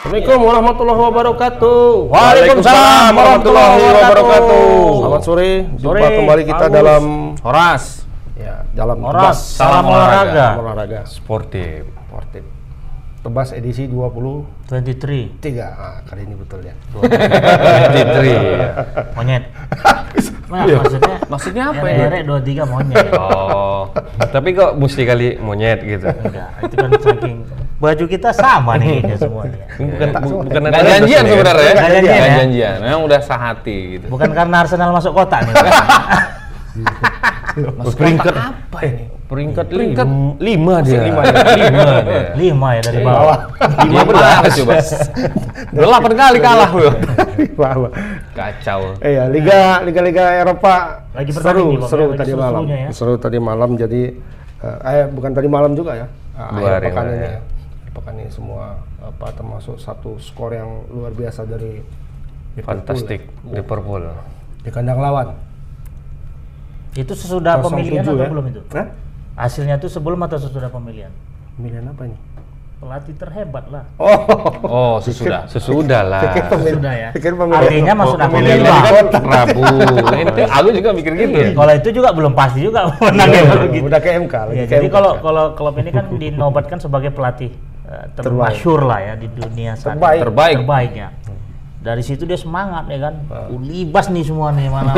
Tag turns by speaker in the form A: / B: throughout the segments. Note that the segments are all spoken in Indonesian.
A: Assalamualaikum warahmatullahi wabarakatuh.
B: Waalaikumsalam warahmatullahi wabarakatuh.
A: Selamat sore.
B: Jumpa kembali kita
A: Agus.
B: dalam
A: Horas. Ya, dalam
C: Horas,
A: tebas.
C: salam olahraga.
A: Salam olahraga.
B: Sportif.
A: Sportif. Tebas edisi 23.
C: 23
A: Ah, kali ini betul ya.
B: Fitri.
C: monyet. Nah, maksudnya
D: Maksudnya apa
C: ya? Derek
D: ini?
C: 23 monyet.
B: Oh, tapi kok mesti kali monyet gitu.
C: Enggak, itu kan saking baju kita sama nih kayaknya semuanya.
B: Bukan bu- bukan
D: Gak janjian sebenarnya ya?
C: Nggak janjian
D: Nggak
C: ya?
D: janjian. Memang udah sehati gitu.
C: Bukan karena Arsenal masuk kota nih.
B: Mas peringkat
D: Apa ini?
B: peringkat peringkat lima dia.
D: lima
B: dia. Lima dia.
C: Lima ya dari bawah.
D: Lima belas coba. Udah delapan kali kalah loh.
A: Bahwa
D: Kacau.
A: Eh ya, liga liga liga Eropa
C: Lagi
A: seru
C: bertanding nih, Bang,
A: seru
C: ya, lagi
A: tadi malam.
C: seru-serunya ya.
A: Seru tadi malam jadi eh eh, bukan tadi malam juga ya. Eh,
B: Dua hari
A: pekan
B: lah,
A: ini
B: ya.
A: ya. Pekan ini semua apa termasuk satu skor yang luar biasa dari Liverpool.
B: Fantastik Liverpool.
A: di kandang lawan.
C: Itu sesudah
A: 07
C: pemilihan atau
A: ya?
C: belum itu?
A: Hah?
C: Hasilnya itu sebelum atau sesudah pemilihan?
A: Pemilihan apa ini?
C: Pelatih terhebat lah.
A: Oh,
D: Oh, sesudah.
B: Sesudah lah.
C: Sudah ya.
A: Pikir pemilihan.
C: Artinya maksud aku
B: Pemilihan
C: lima.
B: ini kan Rabu. Iya.
D: Itu aku juga mikir gitu.
C: Kalau itu juga belum pasti juga menang ya kalau gitu.
A: Oh, Udah ke MK lagi.
C: Ya,
A: ke
C: jadi
A: MK.
C: kalau kalau klub ini kan dinobatkan sebagai pelatih eh, termasyur lah ya di dunia saat ini.
A: Terbaik.
D: Terbaik.
C: terbaik ya. Dari situ dia semangat ya kan. Ulibas nih semua nih mana.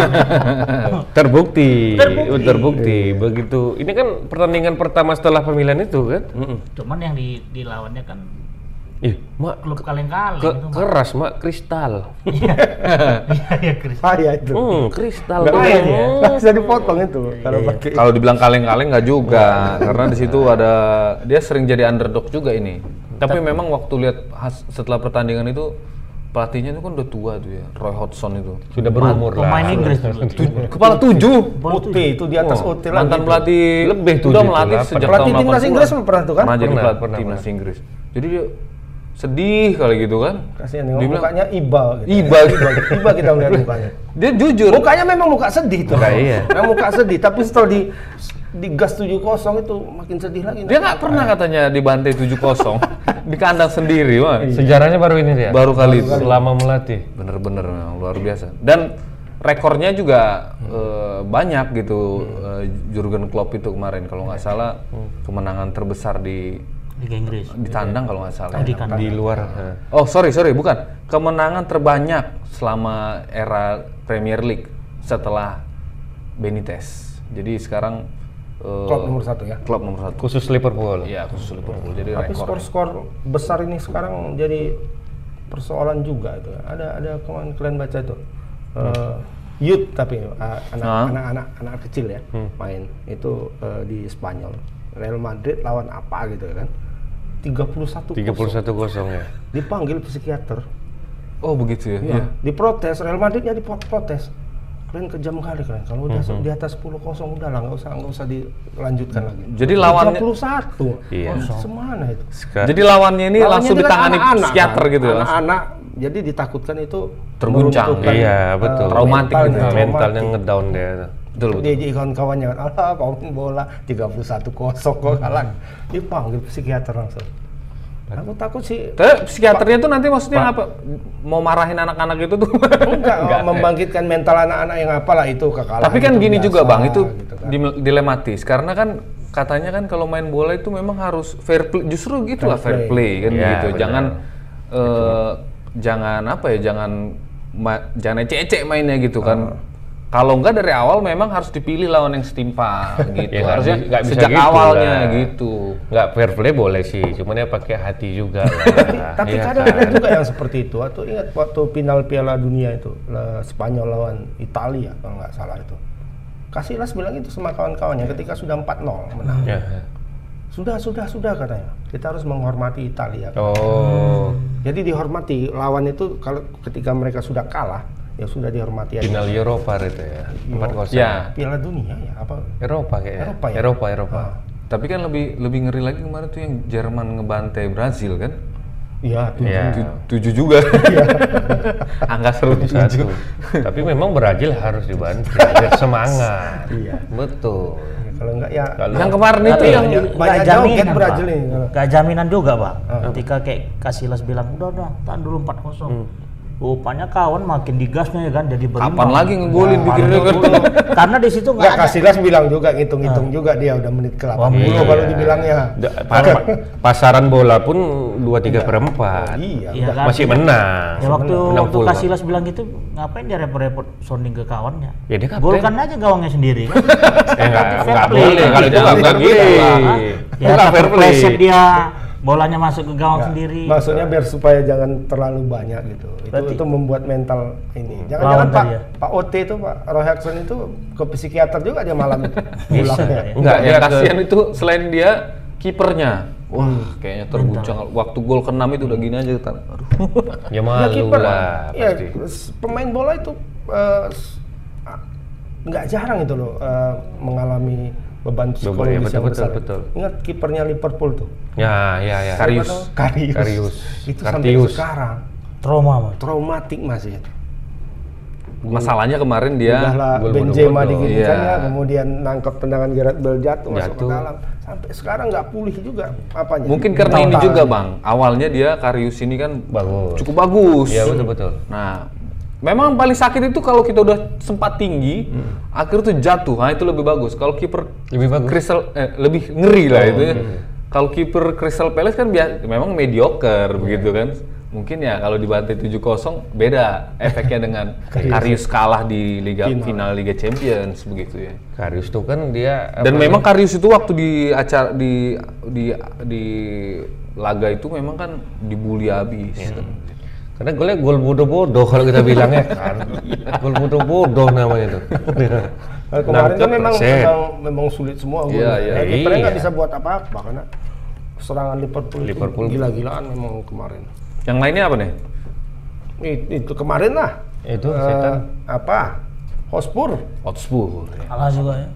B: Terbukti.
C: Terbukti.
B: Terbukti. Begitu. Ini kan pertandingan pertama setelah pemilihan itu kan?
C: Cuman yang di, dilawannya kan
B: Ih, mak
C: klub kaleng-kaleng
B: ke-
C: itu. Mak.
B: keras mak kristal.
C: Iya, iya, Chris.
A: Ah ya itu.
B: Hmm, kristal.
A: Nggak
C: ya.
B: banget.
A: bisa- nggak bisa dipotong itu
C: Iya,
A: kalau pakai.
D: Kalau dibilang kaleng-kaleng nggak juga, karena di situ ada dia sering jadi underdog juga ini. Tapi memang waktu lihat has- setelah pertandingan itu pelatihnya itu kan udah tua tuh ya, Roy Hodgson itu.
B: Sudah berumur lah.
C: Pemain Inggris dulu.
D: Kepala tujuh,
A: UT itu di atas
B: Oh,
A: UT lagi.
D: mantan pelatih
B: Lebih tujuh
D: udah
B: itu,
D: melatih
B: delapan.
D: sejak
A: Pelatih
D: tahun
A: timnas
D: 80-an.
A: Inggris pernah tuh kan?
D: Pernah jadi
B: Pernah,
D: pelatih
B: pernah,
D: timnas Inggris. Jadi dia sedih kali gitu kan.
A: Kasihan tengok
D: Dibilang-
A: mukanya iba gitu.
B: Iya,
D: Iba gitu.
A: Iba kita melihat mukanya.
D: Dia jujur.
A: Mukanya memang muka sedih tuh.
B: Muka
D: Nah,
B: iya.
A: Memang muka sedih, tapi setelah di di gas 70 itu makin sedih lagi.
D: Dia nggak pernah katanya dibantai 7-0 di kandang sendiri, wah.
B: Sejarahnya baru ini dia.
D: Iya. Baru kali itu.
B: selama melatih.
D: bener-bener memang luar biasa dan rekornya juga eh, banyak gitu eh, Jurgen Klopp itu kemarin kalau nggak salah kemenangan terbesar di
C: Liga Inggris.
D: di tandang kalau nggak salah
C: Di kandang.
B: Di luar.
D: oh sorry sorry bukan kemenangan terbanyak selama era Premier League setelah Benitez jadi sekarang eh,
A: Klopp nomor satu ya.
D: Klopp nomor satu
B: Khusus Liverpool.
D: ya khusus Liverpool jadi
A: Tapi
D: rekor
A: skor-skor besar ini sekarang jadi persoalan juga itu. Ada ada kemarin kalian baca itu. Eh, youth tapi eh,
D: Ah. Hmm.
A: anak- anak-anak anak kecil ya main itu eh, di Spanyol. Real Madrid lawan apa gitu kan. 31
B: 31 kosong ya.
A: dipanggil psikiater.
D: oh begitu ya, Iya.
A: diprotes Real Madridnya diprotes kalian kejam kali kalian kalau udah
D: Hmm.
A: di atas 10 kosong udah lah nggak usah nggak usah dilanjutkan lagi
D: Jadi lawannya-
A: 31
B: Iya.
A: Oh, semana itu
B: Sekarang.
D: jadi lawannya ini
A: Lawannya
D: langsung
A: itu kan
D: ditangani
A: anak-anak,
D: psikiater
A: kan?
D: gitu ya langsung.
A: anak-anak jadi ditakutkan itu
D: Terguncang.
A: meruntuhkan,
B: Iya,
A: eh,
B: betul.
D: Traumatik
A: mentalnya,
D: gitu.
B: mentalnya
A: traumatik.
B: ngedown dia.
D: betul betul
A: dia jadi kawan-kawannya kan alah kawan bola 31 kosong kok kalah dipanggil psikiater langsung aku takut sih
D: Tapi psikiaternya tuh nanti maksudnya apa? Mau marahin anak-anak itu tuh.
A: enggak, membangkitkan mental anak-anak yang apalah itu kekalahan
D: Tapi kan
A: itu
D: gini
A: biasa,
D: juga Bang, itu
A: gitu kan.
D: dile- dilematis karena kan katanya kan kalau main bola itu memang harus fair play. Justru gitulah fair
A: Fair
D: play, kan
B: Iya,
D: gitu.
B: benar.
D: Jangan eh, jangan apa ya? Jangan ma- jangan ecek-ecek mainnya gitu
A: Ah.
D: kan. Kalau enggak dari awal memang harus dipilih lawan yang setimpa gitu.
B: Ya, nggak
D: Harusnya
B: bi- nggak bisa
D: sejak
B: gitu
D: awalnya
B: lah.
D: gitu.
B: Nggak fair play boleh sih, cuman ya pakai hati juga. lah.
A: Tapi
B: Iya
A: kadang
B: kan?
A: ada juga yang seperti itu. Atau ingat waktu final Piala Dunia itu eh, Spanyol lawan Italia kalau nggak salah itu. Casillas bilang itu sama kawan-kawannya
B: Iya.
A: ketika sudah 4-0 menang.
B: Ya.
A: Sudah, sudah, sudah katanya. Kita harus menghormati Italia.
B: Oh,
A: Jadi dihormati lawan itu kalau ketika mereka sudah kalah ya sudah dihormati aja.
B: final Eropa itu ya. 4-0.
D: Ya.
A: Piala Dunia ya apa?
B: Eropa kayaknya.
A: Eropa ya?
B: Eropa, Eropa.
D: Tapi kan lebih lebih ngeri lagi kemarin tuh yang Jerman ngebantai Brazil kan.
A: Iya, tujuh.
B: Ya.
D: Tu- Tujuh juga. Angka seru satu.
B: Tapi memang Brazil harus dibantu. Biar semangat.
A: Iya.
B: Betul.
A: Ya, Kalau enggak ya
B: Kalau
D: Yang kemarin
B: Nah,
D: itu yang
A: Iya. banyak
C: Nggak
A: joget
C: jaminan,
A: Brazil
C: Pak.
A: ini. Ah.
C: Nggak jaminan juga, Pak. Ketika kayak Casillas bilang, udah udah, tahan dulu 4-0. Rupanya kawan makin digasnya ya kan, jadi berimbang.
D: kapan lagi ngegolin bikin rekor?
C: Karena di situ nggak Ah.
A: Enggak,
C: ada.
A: Casillas bilang juga ngitung-ngitung juga dia udah menit ke 80
B: Iya.
A: baru dibilangnya.
B: Da- pa- Pasaran bola pun 2 3 per 4.
A: Iya,
C: Iya
A: udah.
C: kan?
B: Masih menang.
C: Ya waktu
B: Menang
C: waktu
B: full.
C: Casillas bilang gitu, ngapain dia repot-repot sounding ke kawannya?
B: Ya, dia kapten.
C: Golkan aja gawangnya sendiri. kan?
B: Eh, nggak-
C: Tapi fair
B: nggak
C: play.
B: boleh kalau itu nggak bukan
D: Iya.
B: gitu.
C: Hah? ya
B: Bukan
C: takut
B: fair play.
C: kepleset dia, bolanya masuk ke gawang sendiri.
A: Maksudnya biar supaya jangan terlalu banyak gitu. Itu,
C: Berarti-
A: itu membuat mental ini. Jangan-jangan
C: Lawan
A: Pak
C: tadi ya.
A: Pak OT itu Pak Roherson itu ke psikiater juga dia malam itu.
C: ya?
A: Pulangnya.
D: Enggak,
B: Enggak,
D: yang
B: dia ke-
D: kasihan itu selain dia kipernya. Wah, kayaknya terguncang. Waktu gol ke-6 itu udah gini aja. Tan. Aduh.
B: Ya
A: Ya
B: malu
A: kiper
B: lah
A: ya,
B: pasti.
A: s- pemain bola itu eh, s- a- nggak jarang itu loh eh, mengalami beban psikologis
B: ya, betul,
A: yang
B: betul,
A: besar.
B: betul.
A: Ingat kipernya Liverpool tuh.
B: Ya, ya, ya.
D: Karius.
A: Karius.
B: Karius.
A: Itu sampai
B: Karius.
A: sekarang
C: Trauma, Pak.
A: traumatik masih itu.
D: Masalahnya kemarin dia
A: Udahlah
D: gol
A: Benzema
D: bodoh-bodoh.
A: diginikan
D: Iya.
A: ya, kemudian nangkep tendangan Gerard Bell jatuh, masuk ke
B: Jatuh.
A: dalam. Sampai sekarang nggak pulih juga apanya.
D: Mungkin karena ini
A: Mental.
D: juga, Bang. Awalnya dia Karius ini kan
B: Bagus.
D: cukup bagus.
B: Iya, betul betul.
D: Nah, memang paling sakit itu kalau kita udah sempat tinggi, akhir tuh jatuh. Nah, itu lebih bagus. Kalau kiper
B: Lebih bagus.
D: Crystal eh, lebih ngeri lah itu. ya. Kalau kiper Crystal Palace kan biasa memang mediocre begitu kan. Mungkin ya kalau dibantai 7-0 beda efeknya dengan Karius kalah di liga final. Liga Champions begitu ya.
B: Karius tuh kan dia apa-
D: Dan memang Karius itu waktu di acara di di di laga itu memang kan dibully habis.
B: karena gue liat gol bodoh-bodoh kalau kita bilangnya kan. gol bodoh-bodoh namanya tuh.
A: Nah, kemarin kan memang,
B: 60%.
A: memang memang sulit semua gol.
D: Iya, iya.
A: Nah, kipernya nggak
B: Iya.
A: bisa buat apa-apa karena serangan Liverpool, itu
B: Liverpool.
A: gila-gilaan memang kemarin.
D: Yang lainnya apa nih?
A: It- itu kemarin lah. Eh,
B: Itu setan.
A: apa? Hotspur.
D: Hotspur.
C: Kalah juga ya.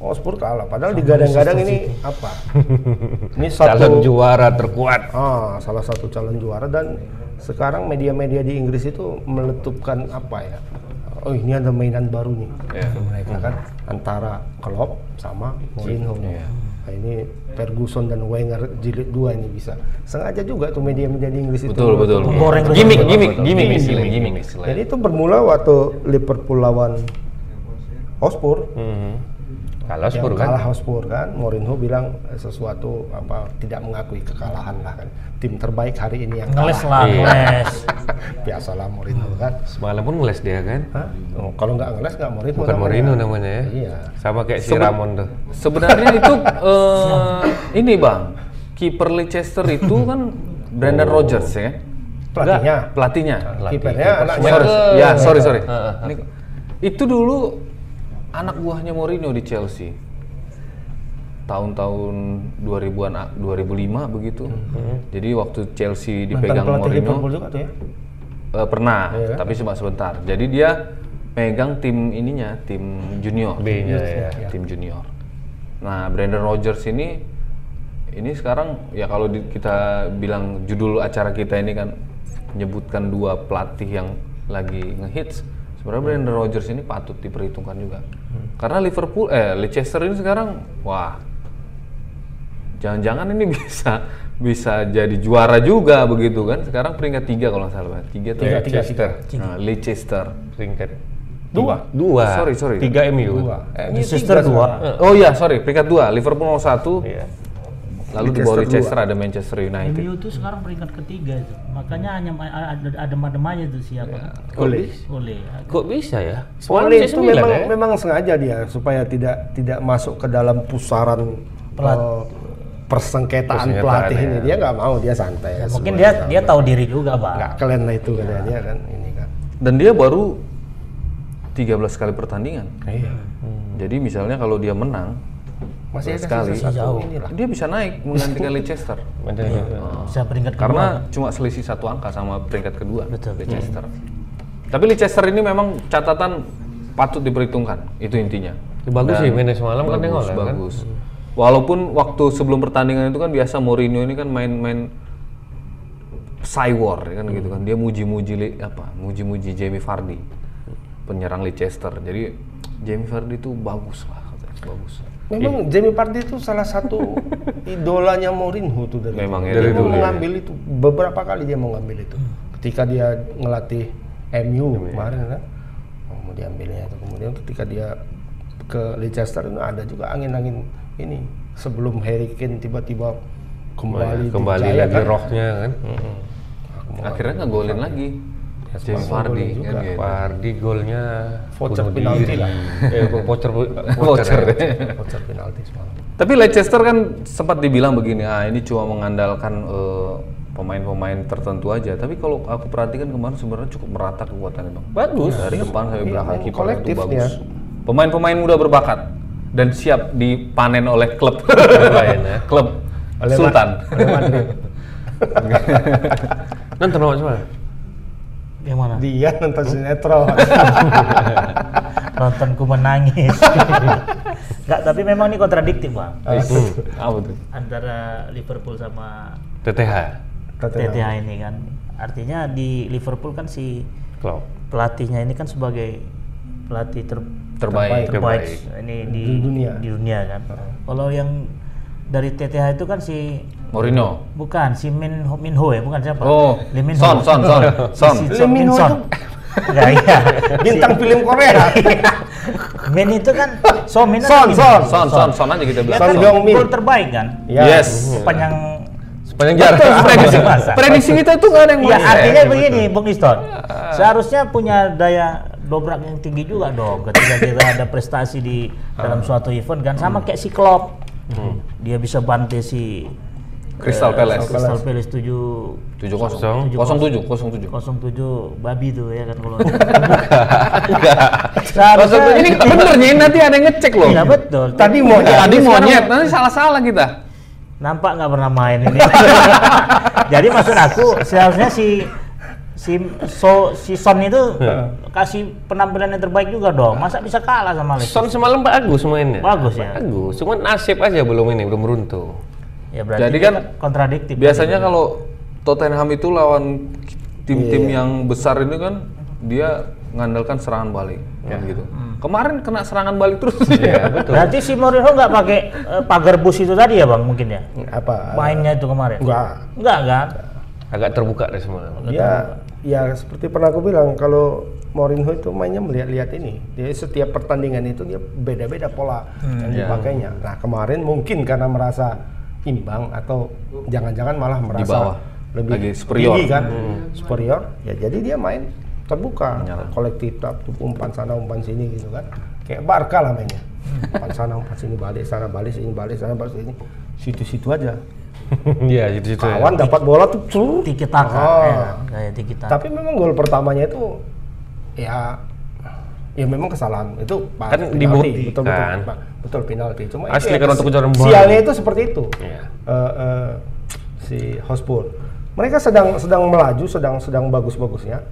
A: Hotspur kalah. Padahal digadang-gadang ini apa? ini
B: Calon
A: satu
B: juara terkuat.
A: ah, salah satu calon juara dan sekarang media-media di Inggris itu meletupkan apa ya? Oh ini ada mainan baru nih. Mereka kan antara Klopp sama Mourinho. Nah, ini Ferguson dan Wenger jilid dua ini bisa. Sengaja juga tuh media-media di Inggris itu.
D: Betul betul.
C: Menggoreng terus.
D: Gimik
C: Betul,
D: gimik
B: betul.
D: gimik
B: Gimik,
D: istilahnya,
B: gimik.
D: gimik istilahnya.
A: Jadi itu bermula waktu Liverpool lawan Hotspur.
B: Kalau Spurs
A: Mhm. yang
B: kan.
A: kalah Hotspur kan Mourinho bilang eh, sesuatu apa tidak mengakui kekalahan lah kan tim terbaik hari ini yang
C: Ngeles
A: kalah
C: lah,
B: Iya.
C: ngeles.
A: biasalah Mourinho kan
B: Semalam pun ngeles dia kan.
A: Hah? Oh, kalau nggak ngeles nggak Mourinho
B: Bukan
A: namanya.
B: Mourinho namanya ya.
A: iya
B: Sama kayak si
D: Sebe-
B: Ramon tuh.
D: Sebenarnya itu eh, ini bang kiper Leicester itu kan Brendan Rodgers ya.
A: Pelatihnya. Ah,
D: Nggak, pelatihnya. Iya,
A: kipernya anak
D: Sorry,
A: Spurs.
D: ya sorry sorry. Ini- itu dulu anak buahnya Mourinho di Chelsea. Tahun-tahun ah, 2000-an a- 2005 begitu. Jadi waktu
A: mantan
D: Chelsea dipegang
A: pelatih
D: Mourinho
A: Liverpool juga tuh ya Iya.
D: eh, pernah, tapi cuma sebentar. Jadi dia megang tim ininya, tim junior.
A: Iya,
B: B-nya ya.
D: Ya, tim junior. Nah, Brandon Rogers ini ini sekarang ya kalau di- kita bilang judul acara kita ini kan menyebutkan dua pelatih yang lagi ngehits. Sebenarnya Brandon Rogers ini patut diperhitungkan juga.
A: Hmm.
D: Karena Liverpool eh Leicester ini sekarang wah jangan-jangan ini bisa bisa jadi juara juga begitu kan. Sekarang peringkat tiga kalau nggak salah. Tiga atau
A: Tiga, tiga,
B: Leicester.
D: Nah, Leicester.
B: Peringkat
A: dua
B: dua.
D: Sorry, sorry.
B: Tiga MU.
A: dua eh, ini
C: Leicester
A: tiga
C: dua.
A: sekarang.
D: Eh, Oh iya, sorry, peringkat 2, Liverpool 01.
B: Iya.
D: Lalu di bawah Leicester ada Manchester
B: Nah,
D: United.
C: MU itu sekarang peringkat ketiga itu. Makanya hanya ma- ada adem-adem aja tuh siapa.
B: Iya.
C: kan?
A: oleh
C: Oleh.
B: Kok bisa ya?
A: oleh itu
B: C9
A: memang
B: ya?
A: memang sengaja dia supaya tidak tidak masuk ke dalam pusaran eh, persengketaan,
B: Persengketaan,
A: pelatih
B: ya.
A: ini dia nggak mau dia santai ya,
C: Mungkin
A: semua.
C: dia dia tahu diri juga,
A: nggak
C: Pak.
A: keren lah itu kata dia kan ini kan
D: Dan dia baru 13 kali pertandingan. Jadi misalnya kalau dia menang,
A: masih ada
D: Sekali.
A: sisa satu
C: Jauh.
A: inilah
D: dia bisa naik menggantikan Leicester.
B: Mantan Liverpool.
C: Bisa peringkat kedua.
D: Karena cuma selisih satu angka sama peringkat kedua
C: Betul.
D: Leicester. Tapi Leicester ini memang catatan patut diperhitungkan, itu intinya.
B: Ya, Bagus sih mainnya semalam kan tengok
D: bagus,
B: lah kan.
D: bagus. Walaupun waktu sebelum pertandingan itu kan biasa Mourinho ini kan main-main Cywar ya kan gitu
B: Hmm.
D: kan. Dia muji-muji li- apa? Muji-muji Jamie Vardy. Penyerang Leicester. Jadi Jamie Vardy itu bagus lah katanya. Bagus.
A: Memang
D: Iya.
A: Jamie Vardy itu salah satu idolanya Mourinho tuh dari
D: Memang ya,
A: dulu.
D: dari
A: Dia mau
D: dulu ya. Hmm.
A: mengambil itu beberapa kali dia mau ngambil itu. Ketika dia ngelatih MU
D: ya.
A: kemarin kan, oh, mau diambilnya itu. Kemudian ketika dia ke Leicester itu ada juga angin-angin ini sebelum Harry Kane tiba-tiba
D: Oh, ya,
A: kembali Hmm.
B: kembali
A: dijaya,
B: lagi rohnya kan.
D: Akhirnya ngegolin lagi.
B: Ya,
D: Jamie Vardy
A: golin
D: kan gitu.
B: Pardi golnya
A: Voucher
B: bunuh
A: penalti
B: diri.
A: lah.
B: Eh, voucher
D: Voucher.
B: voucher. ya.
A: voucher penalti semalam.
D: Tapi Leicester kan sempat dibilang begini, ah ini cuma mengandalkan eh, pemain-pemain tertentu aja. Tapi kalau aku perhatikan kemarin sebenarnya cukup merata kekuatannya bang. Bagus. Iya, Dari depan sampai belakang
A: memang
D: kipernya itu
A: kolektifnya.
D: bagus. Pemain-pemain muda berbakat dan siap dipanen oleh klub
B: Lain, ya.
D: klub
A: Oleh Ma-
D: Sultan.
A: oleh Madrid.
D: ya.
B: Nonton lawan semalam?
C: Yang mana?
A: dia nonton sinetron.
C: Nontonku menangis. Enggak, tapi memang ini kontradiktif, Bang.
D: Apa tuh?
C: Antara Liverpool sama
B: TTH.
A: Tottenham.
C: TTH ini kan. Artinya di Liverpool kan si
B: Klopp.
C: pelatihnya ini kan sebagai pelatih ter
D: Terbaik.
C: terbaik ini di,
A: Di dunia.
C: di dunia kan. Kalau yang dari TTH itu kan si
D: Mourinho.
C: bukan si Min Ho, Min Ho ya, bukan siapa?
D: Oh,
C: Lee Min
D: Son,
C: Ho.
D: Son, Son, Son.
C: Si
A: Lee
C: Son
A: Min
C: Min
A: Ho
C: Son.
A: itu-
C: Enggak, iya.
A: Bintang film Korea.
C: Min itu kan So Min
A: Son,
C: atau Min?
A: Son,
D: Son, Son, Son aja
C: Dia
D: kita bilang.
A: Son
C: kan
A: Heung Min.
C: gol terbaik kan?
A: Ya.
D: Yes.
C: Sepanjang
B: Sepanjang jarak.
D: Prediksi,
C: Masa.
D: prediksi kita tuh
A: Iya,
D: nggak ada yang
C: Ya
D: meleset.
C: artinya begini Bung Iston. Seharusnya punya daya dobrak yang tinggi juga dong ketika kita ada prestasi di dalam suatu event kan sama kayak si Klopp.
A: Hmm.
C: Dia bisa bantai si eh,
D: Crystal Palace.
C: Crystal Palace 7
D: tujuh Eh, kosong, kosong tujuh, kosong
C: 07
D: tujuh.
C: babi tuh ya kan kalau
D: Maksud gue,
C: seharusnya
D: ini bener nih, nanti ada yang ngecek loh.
C: Iya betul.
A: Tadi mau
D: Tadi monyet, nanti salah-salah kita.
C: nampak nggak pernah main ini. Jadi maksud aku seharusnya si si so si Son itu kasih penampilan yang terbaik juga dong. Masa bisa kalah sama Leicester?
B: Son semalam bagus mainnya.
C: Bagus ya.
B: Bagus. Cuman nasib aja belum ini, belum runtuh.
C: Ya berarti
D: Jadi
C: Jadi
D: kan
C: kan kontradiktif.
D: Biasanya kalau Tottenham itu lawan
C: Iya,
D: tim-tim yang besar ini kan dia ngandalkan serangan balik
C: Iya.
D: kan gitu. Kemarin kena serangan balik terus.
B: Ya, betul.
C: Berarti si Mourinho nggak pakai eh, pagar bus itu tadi ya bang mungkin ya?
A: apa?
C: Mainnya itu kemarin.
A: Enggak.
C: Enggak kan?
B: Agak terbuka deh semalam.
A: Dia ya seperti pernah aku bilang kalau Mourinho itu mainnya melihat-lihat ini. Dia setiap pertandingan itu dia beda-beda pola
D: Hmm, iya.
A: yang dipakainya. Nah, kemarin mungkin karena merasa imbang atau jangan-jangan malah merasa
D: bawah.
A: lebih
D: Lagi superior. Hmm.
A: tinggi kan. Superior. Ya jadi dia main terbuka, kolektif tak umpan sana umpan sini gitu kan. Kayak Barca lah mainnya.
D: Hmm.
A: Umpan sana umpan sini balik, sana balik, sini balik, sana balik, sini. Situ-situ aja.
B: Iya, gitu-gitu. ya.
A: Kawan dapat bola tuh celup.
C: Tiki taka.
A: Oh.
C: ya kan? Kayak tiki taka.
A: Tapi memang gol pertamanya itu ya ya memang kesalahan itu pas-
B: Kan
A: penalti,
B: dibuktikan.
A: betul betul betul penalti cuma itu
B: Asli
A: ya
B: kan
A: kes-
B: untuk kejuaraan bola.
A: sialnya itu seperti itu
B: Iya.
A: Eh, eh, si Hotspur mereka sedang sedang melaju sedang sedang bagus bagusnya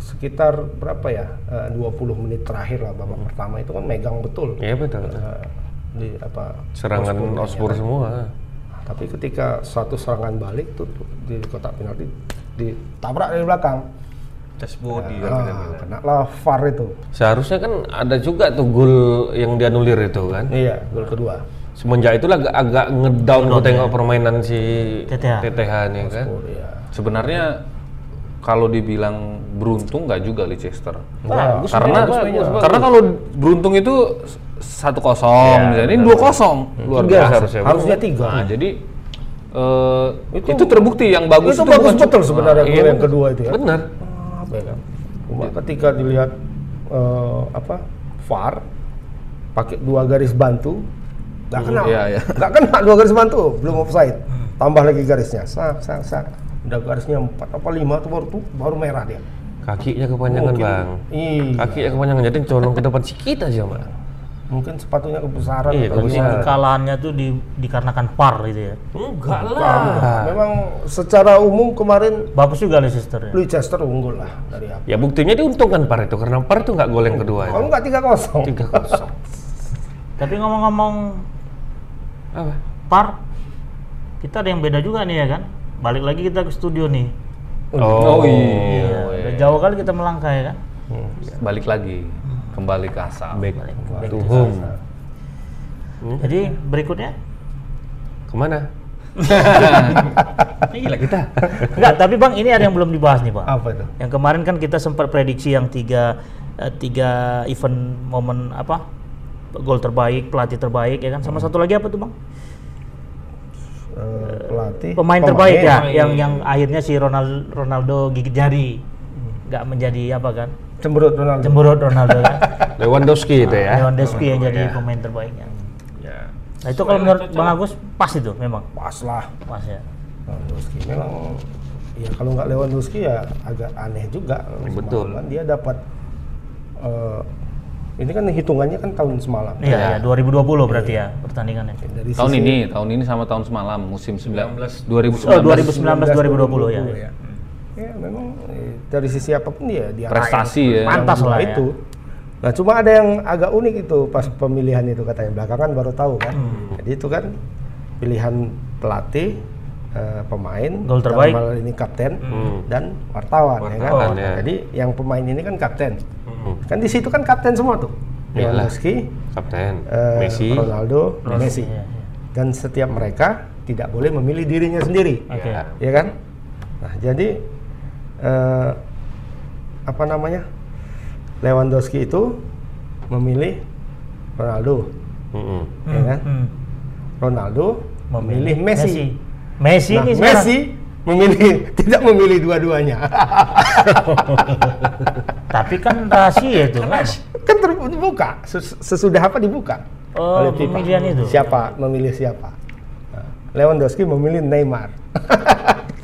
A: sekitar berapa ya Eh, 20 menit terakhir lah babak pertama itu kan megang betul
B: Iya, betul.
A: eh, di apa
B: Serangan Ospur semua.
A: tapi ketika satu serangan balik tuh tuh, di kotak penalti ditabrak dari belakang. Ah, kena lah VAR itu.
B: Seharusnya kan ada juga tuh gol yang dianulir itu kan.
A: Iya, gol kedua.
B: Semenjak itulah agak, agak ngedown gua
C: ya.
B: tengok permainan si
C: TTH.
B: nih kan.
A: Oh, iya.
D: Sebenarnya kalau dibilang beruntung nggak juga Leicester.
A: Bagus,
D: karena
A: bagus mainnya.
D: karena kalau beruntung itu satu
A: Iya,
D: kosong, jadi dua kosong luar
B: Tiga
D: biasa.
B: harusnya.
A: harusnya tiga.
D: Nah, jadi eh, itu, terbukti yang bagus
A: itu bagus
D: bukan
A: betul sebenarnya
B: Nah,
A: gol
B: iya.
A: yang kedua itu ya.
B: Benar.
A: Apa ya, kan? Cuma ketika dilihat eh, apa VAR pakai dua garis bantu nggak kena.
D: Iya, iya.
A: Nggak kena dua garis bantu, belum offside. Tambah lagi garisnya. Sak sak sak. Udah garisnya empat apa lima tuh baru tuh baru merah dia.
B: Kakinya kepanjangan,
A: Mungkin-
B: Bang.
A: Iya.
B: Kakinya kepanjangan jadi colong ke depan sedikit aja, Bang.
A: Mungkin sepatunya kebesaran
B: Iya,
A: atau
B: kebesaran.
A: gimana.
C: Kekalahannya tuh di- dikarenakan par gitu ya.
B: Enggak
A: Ah, Memang secara umum kemarin
C: Bagus juga Leicester ya.
A: Leicester unggul lah dari apa?
B: Ya buktinya diuntungkan par itu karena par itu nggak gol yang kedua.
A: Kalau nggak tiga kosong.
B: Tiga kosong.
C: Tapi ngomong-ngomong
B: Apa?
C: par kita ada yang beda juga nih ya kan balik lagi kita ke studio nih.
D: Oh, iya.
C: Udah jauh kali kita melangkah ya kan.
D: Balik lagi kembali ke asal.
B: Back to home.
C: Jadi berikutnya
B: Kemana? Gila kita.
C: enggak, tapi Bang ini ada yang belum dibahas nih, Bang.
A: Apa itu?
C: Yang kemarin kan kita sempat prediksi yang tiga eh, tiga event momen apa? Gol terbaik, pelatih terbaik ya kan. Sama satu lagi apa tuh, Bang?
A: Eh, pelatih
C: Pemain, terbaik ya, yang yang akhirnya si Ronald, Ronaldo gigit jari. Enggak menjadi apa kan?
A: cemberut Ronaldo
C: Cemberut Ronaldo kan.
B: Lewandowski itu ya.
C: Lewandowski yang iya, jadi pemain terbaiknya.
A: ya
C: Nah, itu kalau menurut Bang Agus pas itu memang
A: pas lah Nah,
C: pas ya.
A: Lewandowski memang ya kalau nggak Lewandowski ya agak aneh juga
B: Betul.
A: Semalam dia dapat eh, ini kan hitungannya kan tahun semalam
C: Iya, iya, 2020 berarti ya pertandingannya.
A: dari
D: Tahun
A: sisi-
D: ini, tahun ini sama tahun semalam musim 19 2019.
C: Oh, 2019 2020 ya.
A: ya. Ya, memang eh, dari sisi apapun dia dia
D: Prestasi ya.
A: raih.
C: Pantas
A: Yang
C: lah ya.
A: itu. Nah, cuma ada yang agak unik itu pas pemilihan itu katanya belakangan baru tahu kan.
C: Hmm.
A: Jadi itu kan pilihan pelatih, eh, pemain,
C: Gol terbaik. Hmm.
A: dalam hal ini kapten dan wartawan, ya kan.
B: Wartawan, ya.
A: Jadi yang pemain ini kan kapten.
C: Hmm.
A: Kan di situ kan kapten semua tuh.
C: Iya
B: Iyalah.
A: Lewandowski,
B: Kapten
A: eh,
B: Messi.
A: Ronaldo, Messi.
C: Iya, iya.
A: Dan setiap mereka tidak boleh memilih dirinya sendiri
C: Oke.
B: Ya.
A: ya kan? Nah, jadi eh, apa namanya? Lewandowski itu memilih Ronaldo,
B: Mm-mm.
A: ya kan?
C: Hmm.
A: Ronaldo memilih Messi.
C: Messi
A: Nah,
C: ini sekarang.
A: Messi memilih tidak memilih dua-duanya.
C: Tapi kan rahasia itu kan.
A: kan terbuka Ses- sesudah apa dibuka
C: Oh,
A: oleh FIFA.
C: pemilihan itu.
A: Siapa memilih siapa? Nah, Lewandowski memilih Neymar.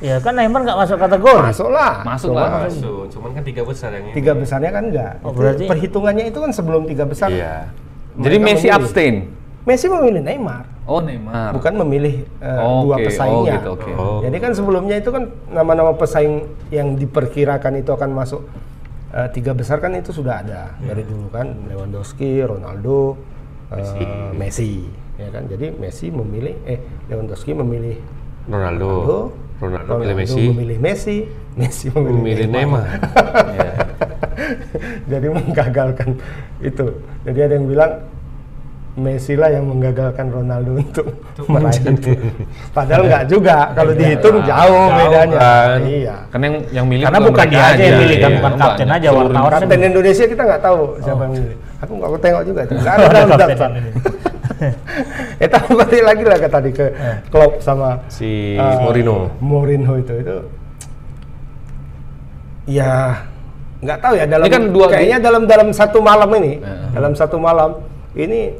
C: Ya kan Neymar nggak masuk
A: Iya,
C: kategori.
A: Masuklah.
D: Masuk lah.
B: Masuk, cuman kan tiga besar yang
A: Tiga besarnya kan enggak.
C: Oh,
A: Itu
C: berarti-
A: perhitungannya itu kan sebelum tiga besar.
B: Iya.
D: Jadi
A: Mereka
D: Messi
A: memilih.
D: abstain.
A: Messi memilih Neymar,
D: Oh Neymar.
A: bukan memilih eh,
D: Oh,
A: dua
D: oke.
A: pesaingnya.
D: Oh, gitu, oke.
B: Oh.
A: Jadi kan sebelumnya itu kan nama-nama pesaing yang diperkirakan itu akan masuk eh, tiga besar kan itu sudah ada dari dulu kan Lewandowski, Ronaldo, eh, Messi. ya kan. Jadi Messi memilih eh Lewandowski memilih
B: Ronaldo.
A: Ronaldo,
B: Ronaldo, pilih Messi.
A: memilih Messi, Messi memilih,
B: Memilih Neymar.
A: Jadi menggagalkan itu. Jadi ada yang bilang Messi lah yang menggagalkan Ronaldo untuk meraih itu. Padahal nggak juga kalau dihitung jauh bedanya.
B: kan.
A: Iya.
D: Karena yang yang milih
C: Karena bukan dia aja yang milih kan,
D: Iya,
C: bukan kapten aja wartawan. Orang
A: Kapten
C: kan-
A: Indonesia kita nggak tahu siapa yang milih. Aku nggak aku tengok juga itu. Nggak ada dalam daftar.
C: ini.
A: Itu balik lagi lah ke tadi ke Klopp sama
B: Si
A: eh,
B: Mourinho.
A: Mourinho itu itu ya nggak tahu ya dalam
D: Ini kan dua-
A: kayaknya dalam dalam satu malam ini dalam satu malam ini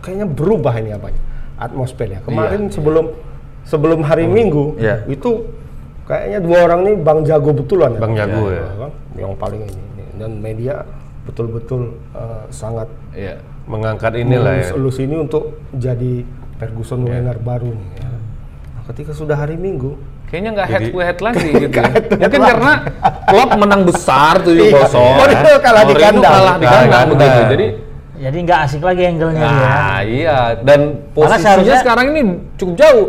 A: kayaknya berubah ini apanya atmosfernya ya. kemarin sebelum sebelum hari Minggu
D: Iya.
A: itu kayaknya dua orang ini bang jago betulan ya.
B: Bang Jago ya.
A: Bang, yang paling ini ini. dan media betul-betul eh, sangat
D: Iya.
B: Mengangkat inilah ya.
A: Lulus ini untuk jadi Ferguson Wenger baru nih. ya. Nah, ketika sudah hari Minggu,
D: Kayaknya nggak head
B: Jadi-
D: to head lagi gitu. ya. Mungkin karena Klopp menang besar tuh
A: Iya.
D: 0
A: Mourinho kalah di kandang.
D: kalah
B: Kalah di
D: di kandang
B: kandang.
D: begitu. Jadi
C: Jadi nggak asik lagi angle-nya ya. dia.
D: Nah, iya. Dan posisinya
C: seharusnya-
D: sekarang ini cukup jauh.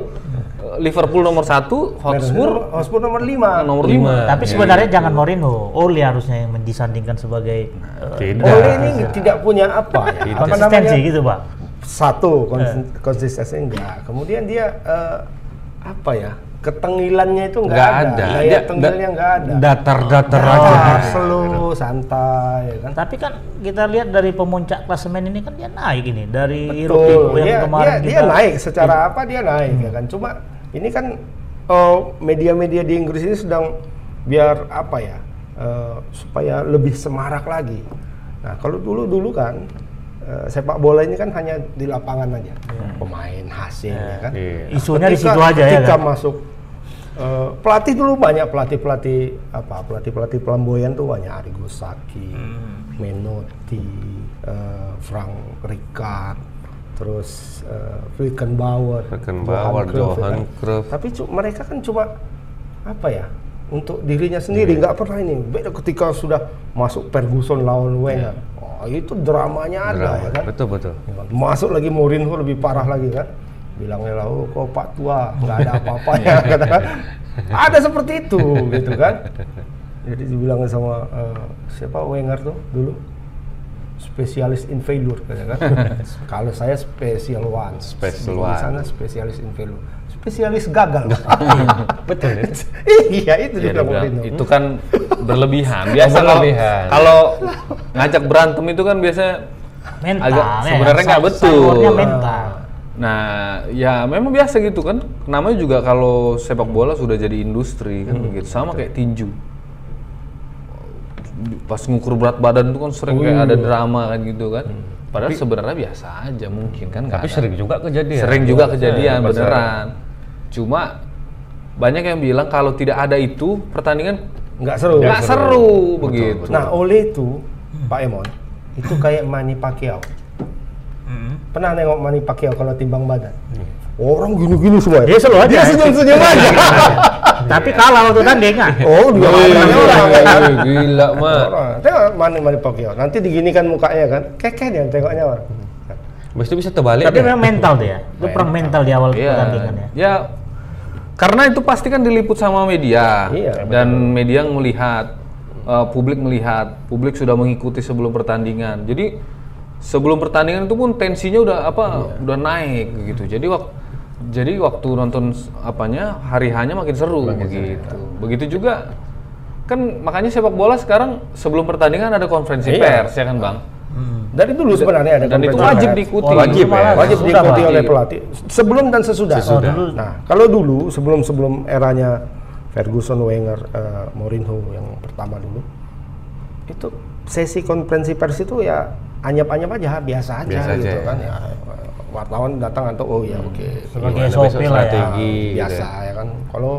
D: Liverpool nomor satu, Hotspur
A: Hotspur, Hotspur nomor 5.
D: nomor
B: Lima. Iya.
D: lima.
C: Tapi sebenarnya jangan Mourinho, Oli harusnya yang disandingkan sebagai eh,
B: Tidak.
A: Oleh Oh, ini tidak punya apa ya? Apa namanya?
C: konsistensi gitu, Pak.
A: Satu konsis- konsistensi enggak. Kemudian dia eh, apa ya? Ketengilannya itu enggak
B: Nggak
A: ada.
B: ada.
A: Daya
B: Dia-
A: tengilnya enggak ada.
B: Datar-datar aja.
A: Ah, slow, santai ya kan.
C: Tapi kan kita lihat dari pemuncak klasemen ini kan dia naik ini
A: Betul.
C: dari Iroquois yang
A: Dia,
D: Iya,
C: kemarin
A: dia, dia
C: kita Hmm.
A: naik secara apa dia naik ya kan. Cuma ini kan oh, media-media di Inggris ini sedang biar apa ya eh, supaya lebih semarak lagi. Nah kalau dulu dulu kan eh, sepak bola ini kan hanya di lapangan aja
C: Hmm.
A: pemain hasil ya kan.
B: Iya.
C: isunya di
A: Ketika-
C: situ aja ya.
A: Ketika
C: kan?
A: masuk eh, pelatih dulu banyak pelatih pelatih apa pelatih pelatih pelamboyan tuh banyak Arigo Saki, Menotti, eh, Frank Ricard, terus eh, Beckenbauer, Johan
B: Beckenbauer,
A: Cruyff, ya
B: Johan
A: kan.
B: Cruyff.
A: Tapi cu- mereka kan cuma apa ya? Untuk dirinya sendiri
B: Iya.
A: nggak pernah ini. Beda ketika sudah masuk Ferguson lawan
B: Iya.
A: Wenger. Oh, itu dramanya ada ya kan.
B: Betul betul.
A: Masuk lagi Mourinho lebih parah lagi kan. bilangnya lah, oh, kok Pak Tua nggak ada apa-apanya, kata kan. Ada seperti itu, gitu kan. Jadi dibilangnya sama eh, siapa Wenger tuh dulu spesialis in failure kata kan. Kalau saya special one, Di
D: Special one.
A: sana spesialis in failure, spesialis gagal.
B: Betul ya.
A: iya itu dibilang
D: Ya, dibilang,
A: Mourinho.
D: itu kan berlebihan. Biasa kalau-
B: Berlebihan.
D: kalau ngajak berantem itu kan biasanya
C: mental
D: agak
C: ya.
D: sebenarnya nggak
C: Sa-
D: betul.
C: sideboardnya mental
D: Nah, ya memang biasa gitu kan. Namanya juga kalau sepak bola sudah jadi industri
B: Hmm.
D: kan begitu. Sama kayak tinju. Pas ngukur berat badan itu kan sering kayak
B: Uh.
D: ada drama kan gitu kan. Padahal sebenarnya biasa aja mungkin kan
B: Hmm.
D: nggak
B: Tapi
D: ada.
B: sering juga kejadian.
D: Sering juga kejadian
B: Iya, pas-
D: beneran. Cuma banyak yang bilang kalau tidak ada itu pertandingan
A: Nggak seru.
D: nggak seru begitu.
A: Nah oleh itu
D: Hmm.
A: Pak Emon itu kayak Manny Pacquiao.
D: Hmm.
A: Pernah nengok Manny Pacquiao kalau timbang badan?
D: Iya.
A: Orang gini-gini semua. ya?
C: Dia selalu aja.
A: Dia senyum-senyum aja.
C: tapi kalah waktu tanding kan
D: Iya.
A: oh, dua
D: Wih,
B: Iya,
A: orang.
D: wih, gila mah.
A: Orang. Tengok Manny Manny Pacquiao. Nanti diginikan mukanya kan. Kekeh dia tengoknya orang.
B: Habis itu bisa terbalik.
C: tapi
B: ya.
C: memang mental dia itu perang mental di awal
D: Iya.
C: pertandingan ya
D: Ya, karena itu pasti kan diliput sama media
A: Iya,
D: dan media melihat, eh, publik melihat, publik sudah mengikuti sebelum pertandingan. Jadi sebelum pertandingan itu pun tensinya udah apa,
A: Iya.
D: udah naik gitu. Jadi waktu jadi waktu nonton s- apanya hari hanya makin seru
A: iya.
D: begitu. Begitu juga kan makanya sepak bola sekarang sebelum pertandingan ada konferensi
A: Iya.
D: pers ya kan bang.
A: Dari dulu sebenarnya ada Nah,
D: Dan itu
A: konferensi
D: wajib
A: pers.
D: diikuti.
B: Wajib ya.
C: Malah
A: wajib
C: susah,
A: diikuti
D: Pak.
A: oleh pelatih sebelum dan sesudah.
B: Sesudah.
C: dulu.
A: Nah, kalau dulu sebelum sebelum eranya Ferguson, Wenger, eh, Mourinho yang pertama dulu itu sesi konferensi pers itu ya anyap-anyap aja biasa aja
B: Biasa aja
A: gitu
B: ya.
A: kan ya wartawan datang atau oh ya oke
C: sebagai
B: Gimana
C: SOP
B: besok
C: lah ya
B: strategi, gitu
A: biasa
B: ya.
A: ya kan kalau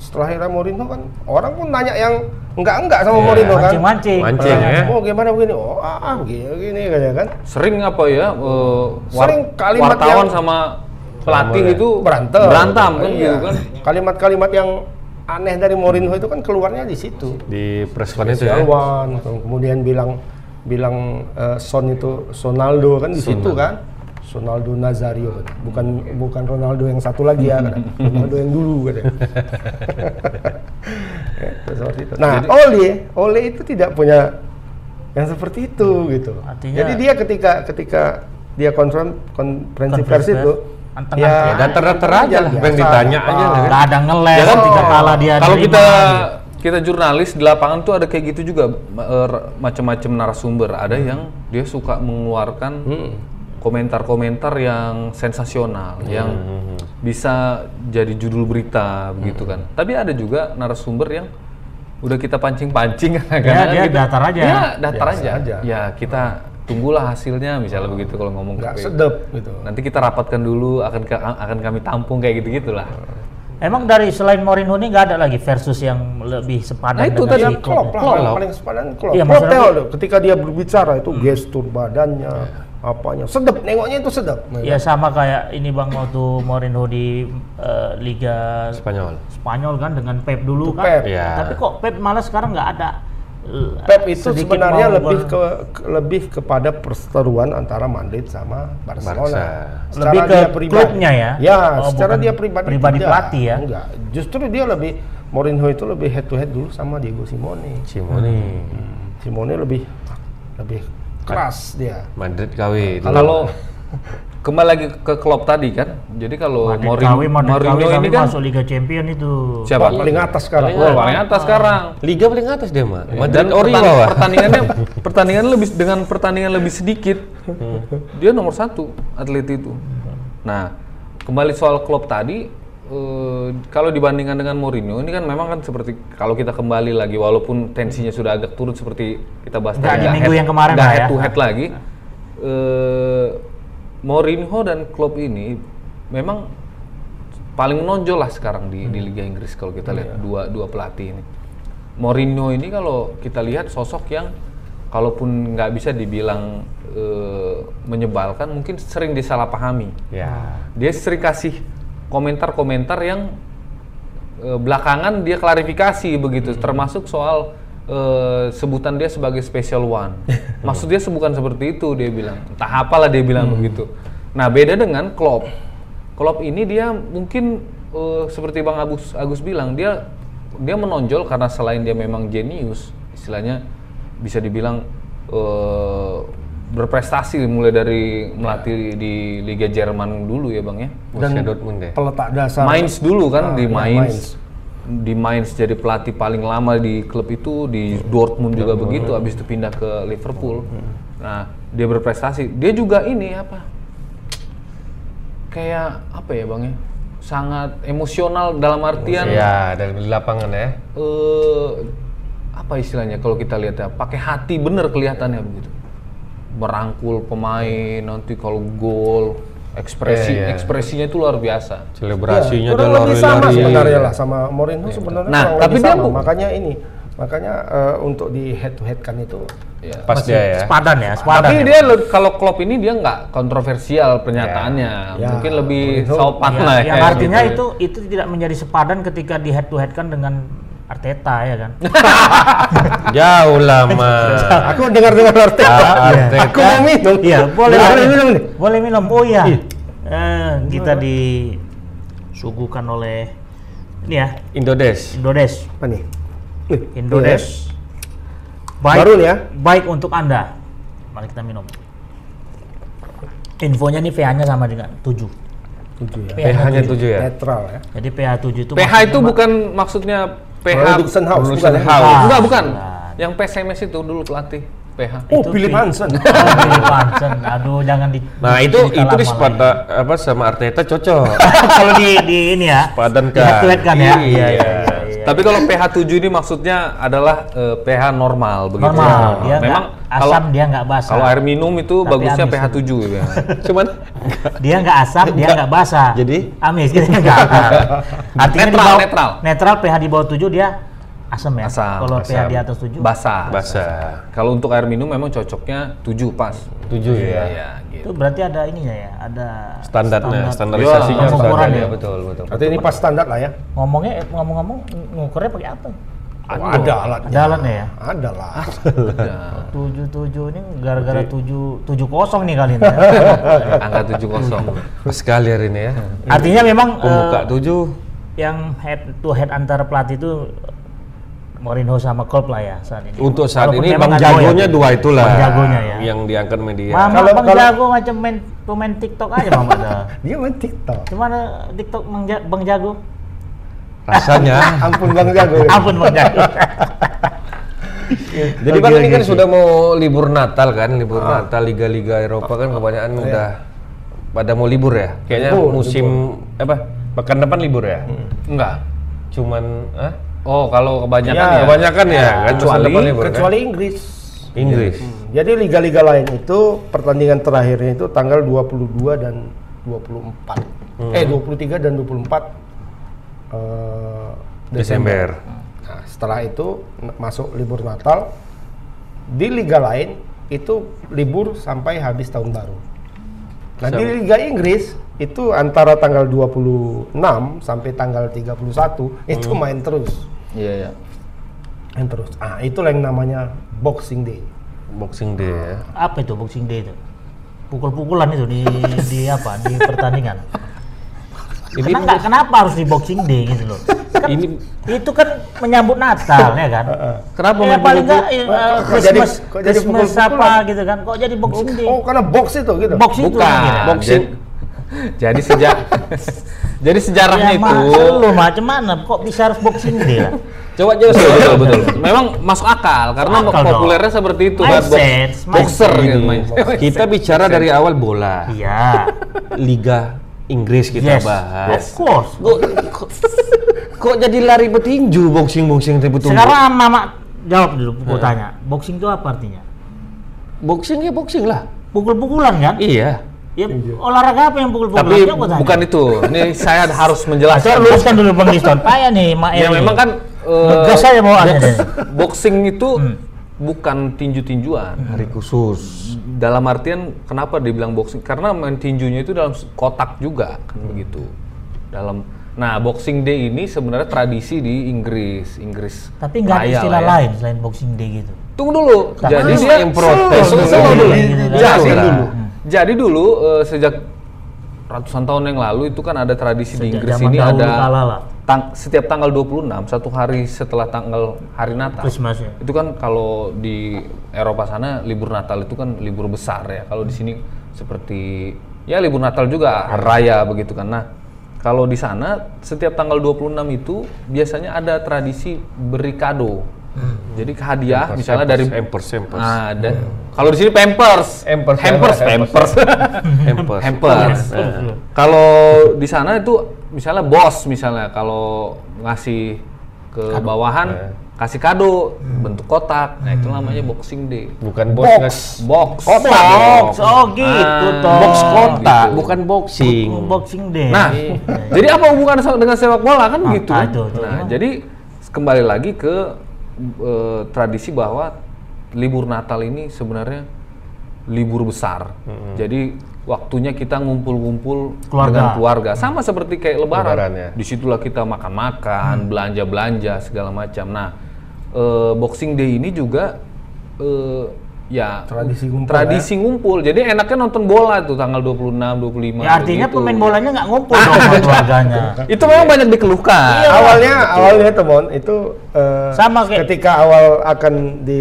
A: setelah era Mourinho kan orang pun nanya yang enggak enggak sama
B: Iya,
A: Mourinho kan
C: mancing-mancing
B: Mancing ya.
A: oh gimana begini oh ah ah, begini gini kayaknya kan
D: sering apa ya eh, war-
A: Sering kalimat
D: wartawan
A: yang-
D: sama
B: Sama,
D: pelatih
B: ya.
D: itu
A: berantem
D: berantem kan
A: Iya.
D: gitu kan
A: kalimat-kalimat yang aneh dari Mourinho itu kan keluarnya di situ
B: di press con itu ya.
D: Iya.
A: Sialwan, kemudian bilang bilang eh, Son itu Sonaldo kan di situ kan Sonaldo Nazario kan. bukan bukan Ronaldo yang satu lagi ya kan. Ronaldo yang dulu kan ya. Itu seperti itu. nah Ole Ole itu tidak punya yang seperti itu gitu
C: Artinya-
A: jadi dia ketika ketika dia konferen- konferensi
C: Konferensi
A: pers
C: pers, ya.
A: itu ya,
C: anteng-anteng aja.
B: Dan ter-ter aja lah, apa yang
A: biasa,
B: ditanya
A: apa.
B: aja lah kan.
C: nggak ada ngeles
D: Ya kan?
C: tiga kalah dia
D: kalau
C: nerima.
D: kita kita jurnalis di lapangan tuh ada kayak gitu juga ma- er, macam-macam narasumber ada yang dia suka mengeluarkan
A: Hmm.
D: komentar-komentar yang sensasional yang
A: hmm,
D: bisa jadi judul berita begitu kan tapi ada juga narasumber yang udah kita pancing-pancing kan
C: Ya, dia datar aja.
D: ya datar aja.
A: aja. Hmm.
D: ya kita tunggulah hasilnya misalnya begitu kalau ngomong
A: nggak
D: KPU.
A: sedep gitu
D: Nanti kita rapatkan dulu akan ka- akan kami tampung kayak gitu-gitulah.
C: Emang dari selain Mourinho ini nggak ada lagi versus yang lebih sepadan
D: Nah,
C: dengan
D: itu tadi
A: Ya,
C: si
A: klop
C: Klopp
A: lah,
C: ya?
A: paling, paling sepadan klop.
C: Iya,
A: Iya,
C: maksudnya Hmm. tuh-
A: ketika dia berbicara itu gestur badannya,
C: Iya.
A: apanya, sedap, nengoknya itu sedap.
C: Ya sama kayak ini Bang waktu Mourinho di eh, Liga
B: Spanyol.
C: Spanyol kan dengan Pep dulu
A: Itu
C: kan.
A: Pep.
B: Iya.
C: Tapi kok Pep malah sekarang nggak ada eh,
A: Pep itu
C: sedikit
A: sebenarnya
C: mau
A: lebih
C: ber-
A: ke, ke- lebih kepada perseteruan antara Madrid sama
B: Barca.
A: Barcelona.
C: Lebih ke klubnya ya?
A: Ya,
C: Oh,
A: secara
C: bukan
A: dia pribadi.
C: pribadi
A: tidak.
C: pelatih ya?
A: Enggak. Justru dia lebih Mourinho itu lebih head to head dulu sama Diego Simone.
B: Simone.
A: Simone lebih lebih keras dia.
B: Madrid KW. itu.
D: Kalau kembali lagi ke Klopp tadi kan. Jadi kalau
C: Madrid
D: Mourinho,
C: KW, Madrid
D: Mourinho
C: KW
D: ini
C: sampai
D: kan
C: masuk Liga Champion itu.
D: siapa?
A: Wah, paling atas sekarang.
D: Wah, paling atas sekarang.
B: Liga paling atas dia mah.
D: Iya. Dan
B: Madrid ori
D: pertan-
B: bawah.
D: pertandingannya pertandingan lebih dengan pertandingan lebih sedikit.
C: Hmm.
D: Dia nomor satu atlet itu. Nah, kembali soal Klopp tadi eh, kalau dibandingkan dengan Mourinho ini kan memang kan seperti kalau kita kembali lagi walaupun tensinya sudah agak turun seperti kita bahas
C: Nggak di
D: nggak
C: minggu
D: head-
C: yang kemarin
D: nggak
C: lah
D: head
C: ya.
D: to head lagi eh, Mourinho dan Klopp ini memang paling menonjol lah sekarang di, di Liga Inggris kalau kita lihat dua dua pelatih ini Mourinho ini kalau kita lihat sosok yang kalaupun nggak bisa dibilang eh, menyebalkan mungkin sering disalahpahami
B: Ya.
D: dia sering kasih komentar-komentar yang eh, belakangan dia klarifikasi begitu termasuk soal eh, sebutan dia sebagai special one maksud dia bukan seperti itu dia bilang entah apalah dia bilang begitu nah beda dengan Klopp Klopp ini dia mungkin eh, seperti Bang Agus Agus bilang dia dia menonjol karena selain dia memang jenius, istilahnya bisa dibilang eh, berprestasi mulai dari melatih di Liga Jerman dulu ya Bang ya.
B: Borussia Dortmund deh.
A: Peletak dasar
D: Mainz dulu
A: Ah,
D: kan di
A: iya,
D: Mainz. Di Mainz jadi pelatih paling lama di klub itu, di Dortmund juga begitu habis itu pindah ke Liverpool. Nah, dia berprestasi. Dia juga ini apa? Kayak apa ya, Bang ya? Sangat emosional dalam artian
B: Iya, dari lapangan ya.
D: eh apa istilahnya kalau kita lihat ya pakai hati bener kelihatannya begitu merangkul pemain nanti kalau gol ekspresi
B: Iya, iya.
D: ekspresinya itu luar biasa
B: Selebrasinya udah
A: Iya, kurang lebih sama
B: lari-lari.
A: sebenarnya lah sama Mourinho sebenarnya
D: Nah,
A: kurang
D: tapi
A: lebih
D: dia
A: sama.
D: bu-
A: makanya ini makanya eh, untuk di head to head kan itu
D: ya.
B: Pas dia ya.
C: Sepadan ya, sepadan.
D: tapi
C: ya.
D: dia le- kalau Klopp ini dia nggak kontroversial pernyataannya
A: Ya.
D: mungkin
A: Ya,
D: lebih
A: Mourinho.
D: sopan
C: Ya,
D: lah
C: yang
D: kayak
C: artinya
D: gitu.
C: itu itu tidak menjadi sepadan ketika di head to head kan dengan Arteta ya kan.
B: Jauh lama.
A: aku dengar dengar Arteta
B: Arteta.
A: aku mau minum
C: Iya, boleh
A: Dengar
C: boleh
A: minum
C: minum.
A: nih.
C: Boleh minum. Oh iya. Eh, kita disuguhkan oleh ini ya,
B: Indodes.
C: Indodes.
A: apa nih Nih,
C: Indodes.
A: Baru nih ya.
C: Baik untuk Anda. Mari kita minum. Infonya nih pH-nya sama dengan 7.
A: tujuh ya
B: pH-nya 7 ya.
A: netral ya
C: Jadi pH 7 itu
D: PH itu bukan maksudnya PH
A: Production house
B: Production
A: bukan ya?
B: house.
C: house.
D: enggak bukan
C: Bukan.
D: yang PSMS itu dulu pelatih PH
A: oh
C: Itu
A: Philip
C: pi-
A: Hansen
C: Oh, Billy Johnson. Aduh, jangan di
B: Nah, itu
C: dicerita
B: itu
C: lama
B: di
C: lagi.
B: Sparta- apa sama Arteta cocok.
C: Kalau di di ini ya.
B: Padan
C: di head to head kan ya.
B: Iya, iya.
D: Tapi kalau pH 7 ini maksudnya adalah eh, pH normal begitu.
C: Normal,
D: Nah,
C: dia memang
D: Memang kalau
C: asam dia nggak basah.
D: kalau air minum itu
C: Tapi
D: bagusnya
C: amis
D: pH 7 ya. Cuman
C: dia nggak asam, dia
B: Nggak.
C: nggak basah.
B: Jadi?
C: amis jadi nggak. Artinya di
D: Netral,
C: bawah-
D: netral.
C: Netral pH di bawah 7 dia asam ya.
D: Asam,
C: Kalau pH
B: asam.
C: di atas 7
D: basah.
B: Basah.
D: Kalau untuk air minum memang cocoknya 7 pas.
B: 7 ya.
D: Iya,
C: Itu
D: gitu.
C: berarti ada ininya ya, ada
B: Standarnya,
C: standar.
B: standarisasinya
C: Iya,
B: standar
C: pengukuran
B: ya.
C: ya.
B: Betul, betul.
A: berarti ini pas standar lah ya
C: Ngomongnya eh, ngomong-ngomong ng- ngukurnya pakai apa?
A: Oh, ada alatnya
C: Ada alatnya ya?
A: ada lah
C: 77 ini gara-gara 7 70 nih kali ini. ya.
B: Iya.
D: Angka 70.
B: Pas sekali hari ini ya.
C: Artinya memang
B: Pembuka
C: eh,
B: 7.
C: yang head to head antara pelatih itu Mourinho sama Klopp lah ya saat ini.
B: Untuk saat
C: Walaupun
B: ini
C: memang
B: Bang
C: nggak jago
B: Jagonya
C: ya.
B: dua itulah.
C: Bang Jagonya ya.
B: Yang diangkat media.
C: Mama
A: Kalau-
C: Bang
A: kalau-
C: Jago macam main pemain TikTok aja Bang Jago.
A: dia main TikTok
C: Gimana eh, TikTok Bang, Ja- Bang Jago?
B: Rasanya.
A: ampun bang jago
C: Ampun Bang Jago.
B: Jadi Bang ini kan sudah mau libur Natal kan, libur Natal liga-liga Eropa kan kebanyakan udah pada mau libur ya. Kayaknya
A: Libur,
B: musim apa? Pekan depan libur ya.
D: Enggak.
B: Cuman ah?
D: Oh, kalau kebanyakan
A: Ya,
D: ya.
B: Kebanyakan ya, kan
D: Kecuali-
B: pekan depan libur kan?
A: kecuali Iya. Inggris
B: Inggris.
A: Jadi liga-liga lain itu pertandingan terakhirnya itu tanggal 22 dan 24. Eh 23 dan 24 eh,
B: Desember.
A: Nah, setelah itu n- masuk libur Natal. Di liga lain itu libur sampai habis tahun baru. Nah, di Liga Inggris itu antara tanggal 26 sampai tanggal 31 itu main terus.
D: Iya, iya.
A: Main terus. Ah, itulah yang namanya Boxing Day.
B: Boxing Day ya.
C: apa itu Boxing Day itu? Pukul-pukulan itu di di apa? Di pertandingan.
B: Ini
C: Kenapa, kenapa harus di Boxing Day gitu loh? Kan
B: ini
C: itu kan menyambut Natal ya kan?
D: Kenapa
C: Ya,
D: main
C: paling nggak eh,
D: pukul-pukul?
A: Kok-
C: eh,
A: kok
C: Christmas,
A: jadi- kok jadi
C: Christmas apa
A: pukul-pukulan?
C: gitu kan? Kok jadi Boxing Day?
A: Oh, karena box itu gitu.
C: Box itu ya?
D: Bukan.
C: namanya.
D: Boxing. Jadi sejak Jadi sejarahnya
C: Ya,
D: itu
C: masa lu macam mana? Kok bisa harus Boxing Day ya? lah?
B: coba jelasin.
D: betul betul. Memang masuk akal karena
C: Masuk akal
D: populernya seperti itu
C: Mindset,
D: box-
C: mindset.
D: boxer gitu main.
B: Kita bicara dari awal bola.
C: Iya.
B: Liga Inggris kita
C: yes. Of
B: bahas.
C: course.
B: Kok, kok, kok jadi lari petinju boxing-boxing ribut-ribut?
C: Sekarang Mama jawab dulu
D: Eh.
C: gua tanya. Boxing itu apa artinya?
B: boxing ya boxing lah.
C: Pukul-pukulan kan?
B: Iya.
C: Ya, olahraga apa yang pukul-pukulan?
D: Tapi
C: Jawab gua tanya.
D: bukan itu. Ini saya harus
C: Saya
D: menjelaskan.
C: luruskan dulu Bang Liston. Payah nih Mak
D: Ya
C: Eri.
D: memang kan eh,
C: Ngegas aja bawaannya
D: box-
C: deh.
D: boxing itu
C: Hmm.
D: bukan tinju-tinjuan.
B: Hari khusus.
D: Dalam artian kenapa dibilang boxing? Karena main tinjunya itu dalam kotak juga
C: Hmm.
D: kan begitu. Dalam Nah, Boxing Day ini sebenarnya tradisi di Inggris, Inggris.
C: Tapi nggak ada
D: Raya lah
C: istilah
D: ya.
C: lain selain Boxing Day gitu.
D: Tunggu dulu.
C: Tapi
D: Jadi
B: masa
D: dia
B: yang protes
D: Iya, Sel-
B: dulu.
D: sel- sel- dulu. Hmm.
C: Gitu kan.
D: Jadi
B: Jelasin
D: dulu.
B: dulu.
D: Jadi dulu eh, sejak ratusan tahun yang lalu itu kan ada tradisi di
C: Sejak
D: Inggris
C: zaman
D: ini
C: dahulu
D: ada
C: kala lah.
D: tang- setiap tanggal 26 satu hari setelah tanggal hari Natal.
C: Christmasnya.
D: Itu kan kalau di Eropa sana libur Natal itu kan libur besar ya. Kalau di sini seperti ya libur Natal juga hari raya begitu kan. Nah, kalau di sana setiap tanggal 26 itu biasanya ada tradisi beri kado.
C: Hmm.
D: Jadi hadiah misalnya dari
B: hampers, hampers.
D: Ah, ada. Kalau di sini Pampers.
B: Hampers,
D: Hampers,
B: hampers.
D: Pampers.
B: Hampers. Eh.
D: Hampers. Nah, Kalau di sana itu misalnya bos misalnya kalau ngasih ke bawahan
B: Eh.
D: kasih kado
C: Hmm.
D: bentuk kotak. Nah, itu namanya boxing day.
B: Bukan bos nggak-
D: Box.
C: Box, oh gitu
D: Ah,
C: toh.
D: box kotak.
B: Gitu. bukan boxing.
C: Oh, Boxing Day.
D: Nah, jadi apa hubungannya sama- dengan sepak bola kan
C: Ah,
D: gitu?
C: aduh, aduh.
D: Nah, jadi kembali lagi ke eh, tradisi bahwa libur Natal ini sebenarnya libur besar. Jadi waktunya kita ngumpul-ngumpul
C: Keluarga.
D: dengan keluarga, sama seperti kayak Lebaran.
B: Lebaran, ya.
D: Disitulah kita
C: Mm.
D: makan-makan, belanja-belanja segala macam. Nah, eh, Boxing Day ini juga eh, ya
A: Tradisi ngumpul,
D: tradisi ngumpul. Jadi enaknya nonton bola tuh tanggal 26, 25.
C: ya artinya
D: begitu.
C: pemain bolanya nggak ngumpul dong sama keluarganya.
D: Itu memang banyak dikeluhkan.
A: ya. awalnya awalnya teman itu eh,
C: Sama kayak-
A: ketika awal akan di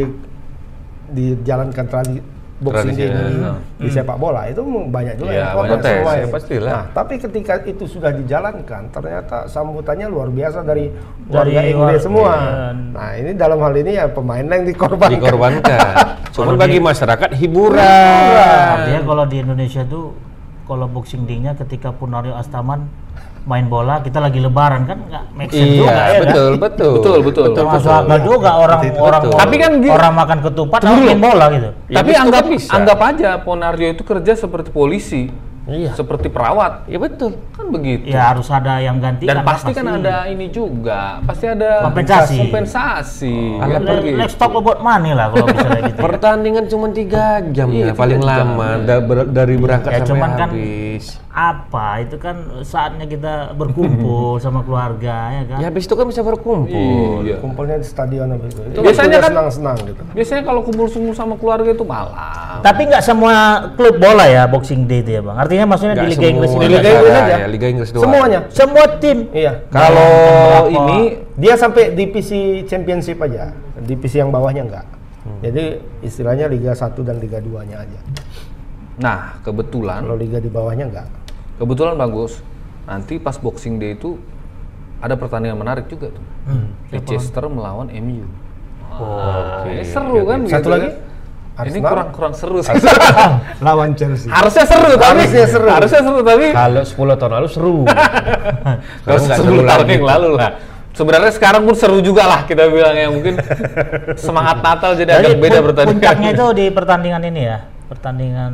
A: dijalankan tradisi boxing day
B: Tradisi,
A: ini
B: ya.
A: di
C: Hmm.
A: sepak bola itu banyak juga
D: Iya,
A: yang protes
D: banyak
A: semua
B: protes,
A: ya.
B: pastilah.
A: Nah, tapi ketika itu sudah dijalankan ternyata sambutannya luar biasa dari
C: Dari
A: warga Inggris
C: war-
A: semua.
C: iya.
A: Nah, ini dalam hal ini ya pemain yang dikorbankan.
B: dikorbankan. Cuman bagi masyarakat hiburan.
C: Artinya kalau di Indonesia tuh kalau Boxing Day-nya ketika Punario Astaman main bola, kita lagi lebaran kan nggak make
B: Iya,
C: sense juga ya.
B: betul, betul.
D: Betul, betul.
C: Termasuk agak juga orang orang
B: betul.
D: Tapi kan gini-
C: orang makan ketupat orang main bola gitu.
B: Ya,
D: Tapi
B: itu kan
D: anggap
B: bisa.
D: anggap aja Ponario itu kerja seperti polisi,
B: Iya.
D: seperti perawat,
B: Ya betul.
D: kan begitu.
C: Ya harus ada yang ganti
D: Dan pasti kan ada ini juga, pasti ada
C: Kompensasi.
D: kompensasi.
B: Alat
D: kan begitu.
C: Let's talk about money lah kalau misalnya gitu. ya.
B: Pertandingan cuma tiga jam ya,
D: Iya, tiga
B: paling
D: jam.
B: lama Da- ber- dari berangkat
C: Ya,
B: sampai
C: cuman kan-
B: habis.
C: Apa itu kan saatnya kita berkumpul sama keluarga ya kan.
B: Ya habis itu kan bisa berkumpul.
D: Iya.
A: Kumpulnya di stadion apa itu. Itu
D: Biasanya
A: waktunya
D: kan-
A: senang-senang gitu.
D: Biasanya kalau kumpul-kumpul sama keluarga itu malam.
C: Tapi nggak semua klub bola ya Boxing Day itu ya bang. Artinya maksudnya
B: Nggak
C: di Liga Inggris
B: semua
C: ini
A: Di Liga Inggris
B: negara
A: aja.
B: ya, Liga Inggris doang.
A: Semuanya.
C: semua tim.
A: Iya.
D: Kalau ini
A: Dia sampai divisi championship aja, divisi yang bawahnya enggak. Jadi istilahnya Liga 1 dan Liga 2-nya aja.
D: nah, kebetulan
A: Kalau Liga di bawahnya enggak.
D: Kebetulan bagus. Nanti pas Boxing Day itu ada pertandingan menarik juga tuh. Leicester melawan MU. Oh, ini seru kan?
A: Satu
D: gitu
A: lagi?
D: kan? Ini
A: Arsenal.
D: kurang-kurang seru. sih.
A: Lawan Chelsea.
D: harusnya seru tapi
A: Harusnya seru.
D: harusnya seru tapi
B: Kalau 10 tahun lalu seru. Sekarang
D: kalau
B: nggak
D: sebelum
B: seru
D: tahun
B: lagi.
D: yang lalu lah. Sebenarnya sekarang pun seru juga lah kita bilang ya mungkin semangat Natal jadi
C: Jadi
D: agak
C: Eh,
D: beda
C: pun-
D: pertandingan.
C: Puncaknya itu di pertandingan ini ya. Pertandingan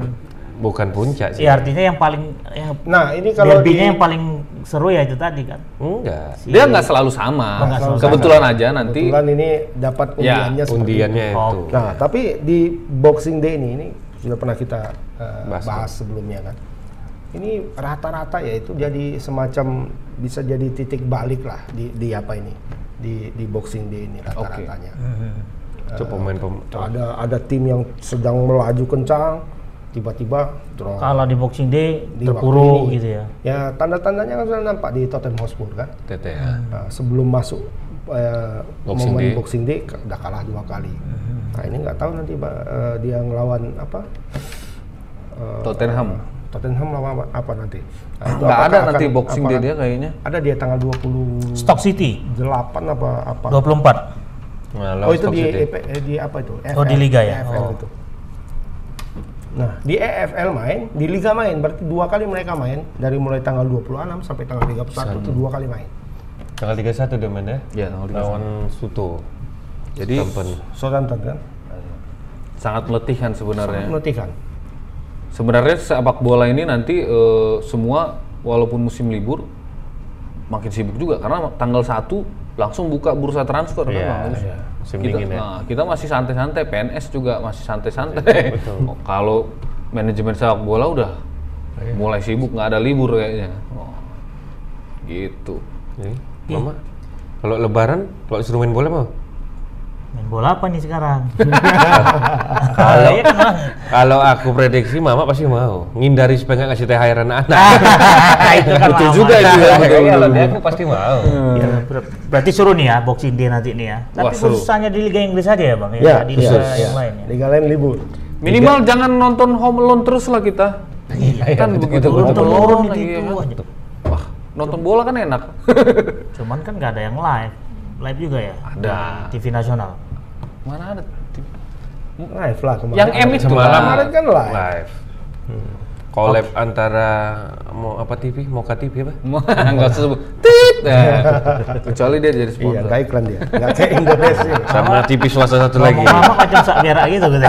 B: Bukan puncak sih.
C: ya artinya yang paling yang
A: Nah, ini kalau di
C: derbynya yang paling seru ya itu tadi kan.
B: Enggak.
D: dia nggak selalu sama.
C: nggak selalu
D: Kebetulan aja nanti
A: kebetulan ini dapat
D: Ya,
A: undiannya seperti
B: Undiannya
C: Oh.
B: itu.
A: itu. Nah, tapi di Boxing Day ini ini sudah pernah kita eh,
B: Bahas.
A: bahas sebelumnya kan. Ini rata-rata ya itu jadi semacam bisa jadi titik balik lah di, di apa ini di di Boxing Day ini rata-ratanya.
B: Itu pemain pemain
A: ada ada tim yang sedang melaju kencang tiba-tiba drop
C: Kalau di Boxing Day
A: di
C: terpuruk
A: waktu ini.
C: gitu ya.
A: ya tanda-tandanya kan sudah nampak di Tottenham Hotspur kan
B: TTA.
A: Nah, sebelum masuk eh,
B: Boxing
A: momen
B: Day.
A: Boxing Day ke- udah kalah dua kali nah ini nggak tahu nanti Pak, eh, dia ngelawan apa Eh,
D: Tottenham.
A: Tottenham lawan apa, apa nanti Nah, itu
D: Nggak ada
A: apakah
D: nanti
A: akan-
D: Boxing
A: apa-
D: Day dia kayaknya.
A: ada dia tanggal 28
C: Stock City
A: apa apa
C: 24.
B: Nah,
A: Oh
B: lawan
A: itu
B: Stoke
A: di,
B: City.
A: EP eh, di apa itu?
C: Oh, di Liga ya?
A: EFL
C: Oh.
A: E itu. Nah, di EFL main, di Liga main, berarti dua kali mereka main dari mulai tanggal 26 sampai tanggal 31 itu dua kali main.
B: Tanggal 31 dia main ya.
D: Ya, tanggal 31.
B: Lawan Suto.
D: Jadi
B: Southampton.
A: Southampton kan?
D: sangat meletihkan
C: Ya.
D: sebenarnya.
A: Notikan.
D: Sebenarnya sepak bola ini nanti eh, semua walaupun musim libur makin sibuk juga karena tanggal 1 langsung buka bursa transfer kan,
B: Iya,
D: Bang Agus?
B: iya. Musim
D: Kita,
B: dingin ya.
D: nah, kita masih santai-santai, PNS juga masih santai-santai. Oh, Kalau manajemen sepak bola udah mulai sibuk nggak ada libur kayaknya. Oh, gitu.
B: Iya. Jadi, Mama kalau lebaran kalau disuruh main bola mau?
C: main bola apa nih sekarang?
B: Kalau-
C: Iya kan, Bang?
B: Kalau aku prediksi Mama pasti mau. Ngindari supaya nggak ngasih THR anak-anak.
C: itu kan
D: Betul
C: lama.
D: juga itu ya.
B: Nah,
D: betul,
B: kayaknya
D: betul,
B: kalau dia
D: betul.
B: aku pasti mau.
C: Ya, ber- berarti suruh nih ya boxing day nanti nih ya. Tapi
D: Wah, seru.
C: khusus hanya di Liga Inggris aja ya bang ya,
A: Ya,
C: nggak di
A: iya,
C: Liga
A: iya.
C: yang lain ya.
A: Liga lain libur.
D: Minimal jangan nonton Home Alone terus lah kita.
A: Iya,
C: Iya.
D: kan begitu
C: Turun
D: Home
C: turun
D: Alone lagi,
C: gitu
D: ya kan?
C: aja.
D: Wah, nonton bola kan enak.
C: Cuman kan nggak ada yang live, live juga ya.
D: Ada.
C: Di TV nasional.
D: Mana ada TV?
A: Live lah kemarin.
D: Yang M itu
B: Semalam
D: lah.
A: Kemarin kan live.
B: Collab antara mau apa TV, mau TV apa?
D: Enggak usah sebut. Tit. Nah, kecuali dia jadi
A: Iya,
D: sponsor.
A: nggak iklan dia. Nggak kayak Indonesia.
B: Sama TV swasta satu lagi.
C: Lama-lama macam sak berak gitu gitu.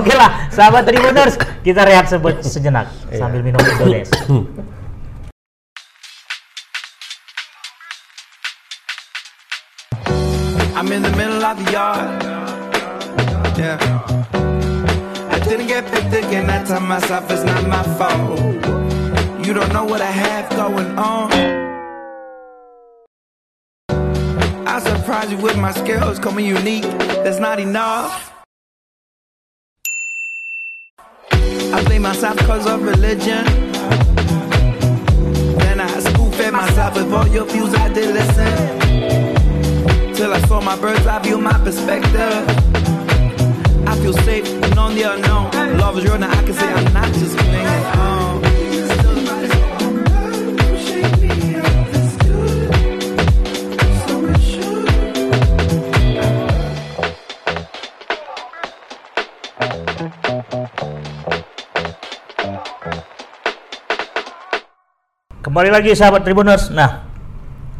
C: Oke lah, sahabat Tribuners, kita rehat sebe- sejenak sambil minum Indoles.
E: I'm in the middle of the yard. Yeah. I didn't get picked again. I tell myself it's not my fault. You don't know what I have going on. I surprise you with my skills. Call me unique. That's not enough. I blame myself because of religion. Then I spoon fed myself with all your views. I did listen. Till I saw my bird's eye view, my perspective. I feel safe and on the unknown. Love is real, now I can say I'm not just playing. Um,
C: Kembali lagi sahabat Tribuners. Nah,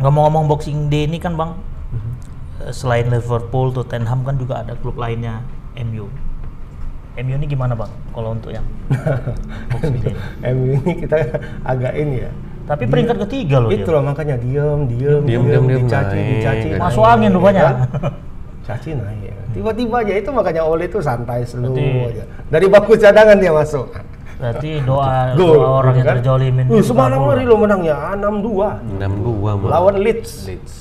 C: ngomong-ngomong Boxing Day ini kan Bang, eh, selain Liverpool, Tottenham kan juga ada klub lainnya MU. MU ini gimana Bang kalau untuk yang Boxing Day? ini?
A: MU ini kita agak ini ya.
C: Tapi peringkat ketiga loh
A: Itu
C: dia.
A: Gitu loh makanya diem, diem,
B: Gitu Diem,
A: diem,
B: diem, diem,
A: dicaci,
B: naik. Gitu.
A: dicaci.
C: Masuk
A: naik,
C: angin
A: ya
C: rupanya.
A: kan? Caci naik.
B: Hmm.
A: Tiba-tiba aja itu makanya Ole itu santai slow
C: Berarti-
A: aja. Dari baku cadangan dia masuk.
C: Berarti doa,
A: Gol.
C: doa Nah, orang yang
A: kan?
C: terjolimin.
A: Uh,
C: di
A: semalam
C: Liverpool,
A: hari
C: Bang.
A: lo menangnya 6-2
B: 62 mama.
A: lawan Leeds.
D: Leeds.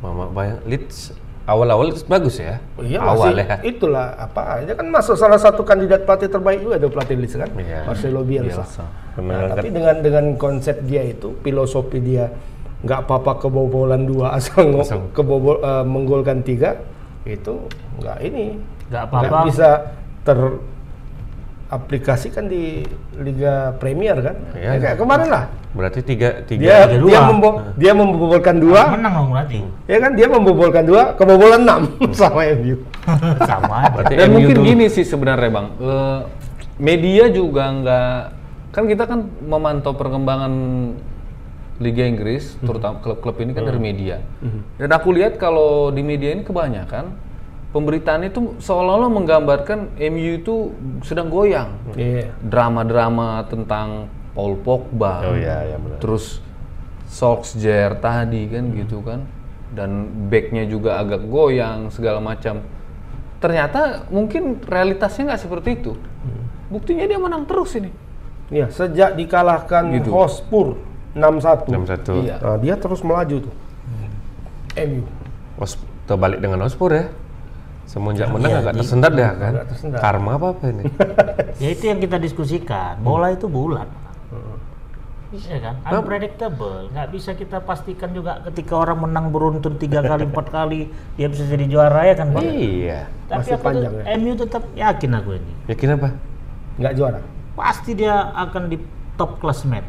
B: Mama bayang Leeds awal-awal Leeds bagus ya. awal
A: Iya, masih
B: ya.
A: itulah apa dia kan masuk salah satu kandidat pelatih terbaik juga ada pelatih Leeds kan
B: Iya.
A: Marcelo Bielsa.
D: Bielsa.
A: Nah, tapi dengan dengan konsep dia itu filosofi dia nggak apa-apa kebobolan dua asal ngo-
B: Asal.
A: kebobol eh, menggolkan tiga itu nggak ini nggak
C: Nggak apa-apa.
A: bisa teraplikasikan di Liga Premier kan
B: Iya.
A: Ya, kayak kemarin lah
B: Berarti tiga
A: dia
B: tiga
C: Liga
A: dia,
C: dua.
A: membo- dia membobolkan dua
C: menang dong berarti.
A: ya kan dia membobolkan dua kebobolan enam sama MU
C: Sama. aja.
B: Berarti
D: Dan
B: MU
D: mungkin
B: dulu.
D: gini sih sebenarnya bang, Eh, media juga nggak kan kita kan memantau perkembangan Liga Inggris,
B: Hmm.
D: terutama klub-klub ini kan dari media. Dan aku lihat kalau di media ini kebanyakan pemberitaan itu seolah-olah menggambarkan MU itu sedang goyang.
B: Hmm.
A: Iya.
D: Drama-drama tentang Paul Pogba,
B: Oh iya, iya benar.
D: terus Solskjaer tadi kan
A: Hmm.
D: gitu kan dan backnya juga agak goyang segala macam ternyata mungkin realitasnya nggak seperti itu
A: Hmm.
D: buktinya dia menang terus ini
A: ya sejak dikalahkan
D: Gitu.
A: Hotspur 6-1
B: 61.
D: Iya.
A: Nah, dia terus melaju tuh MU
B: Os, terbalik dengan Ospur ya. Semenjak menang agak tersendat dah kan.
A: Agak tersendat.
B: Karma apa apa ini?
C: Ya itu yang kita diskusikan. Bola itu bulat. Iya kan? Unpredictable. Nggak bisa kita pastikan juga ketika orang menang beruntun tiga kali, empat kali, dia bisa jadi juara ya kan Bang?
B: iya.
C: Tapi
A: masih
C: aku
A: panjang
C: tuh-
A: ya.
C: MU tetap yakin aku ini.
B: Yakin apa?
A: nggak juara
C: Pasti dia akan di top klasmen.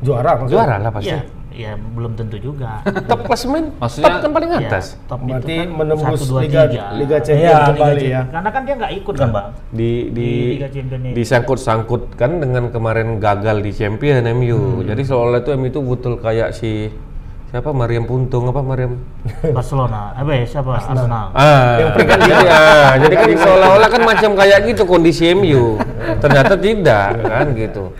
A: juara maksudnya
B: Juara lah pasti.
C: Ya, ya belum tentu juga.
B: Top klasemen,
D: Maksudnya-
B: top kan paling
C: Ya,
B: atas.
C: top itu
A: berarti
C: kan
A: menembus
C: 1, 2,
A: Liga
C: 3.
A: Liga
C: Iya,
A: Champions
C: Liga
A: kembali ya
C: Champions. Karena kan dia nggak ikut kan Bang?
B: Di
C: Di
B: di
C: Liga Champions ini.
B: disangkut-sangkutkan dengan kemarin gagal di Champion MU. Jadi seolah itu MU itu betul kayak si siapa Mariam Puntung apa Mariam
C: Barcelona. Eh, be, siapa? Arsenal.
B: Ah,
A: Yang peringkat
B: jadi,
A: lima.
B: ah, jadi kan
A: Peringkat lima.
B: seolah-olah kan macam kayak gitu kondisi MU. Ternyata tidak kan gitu.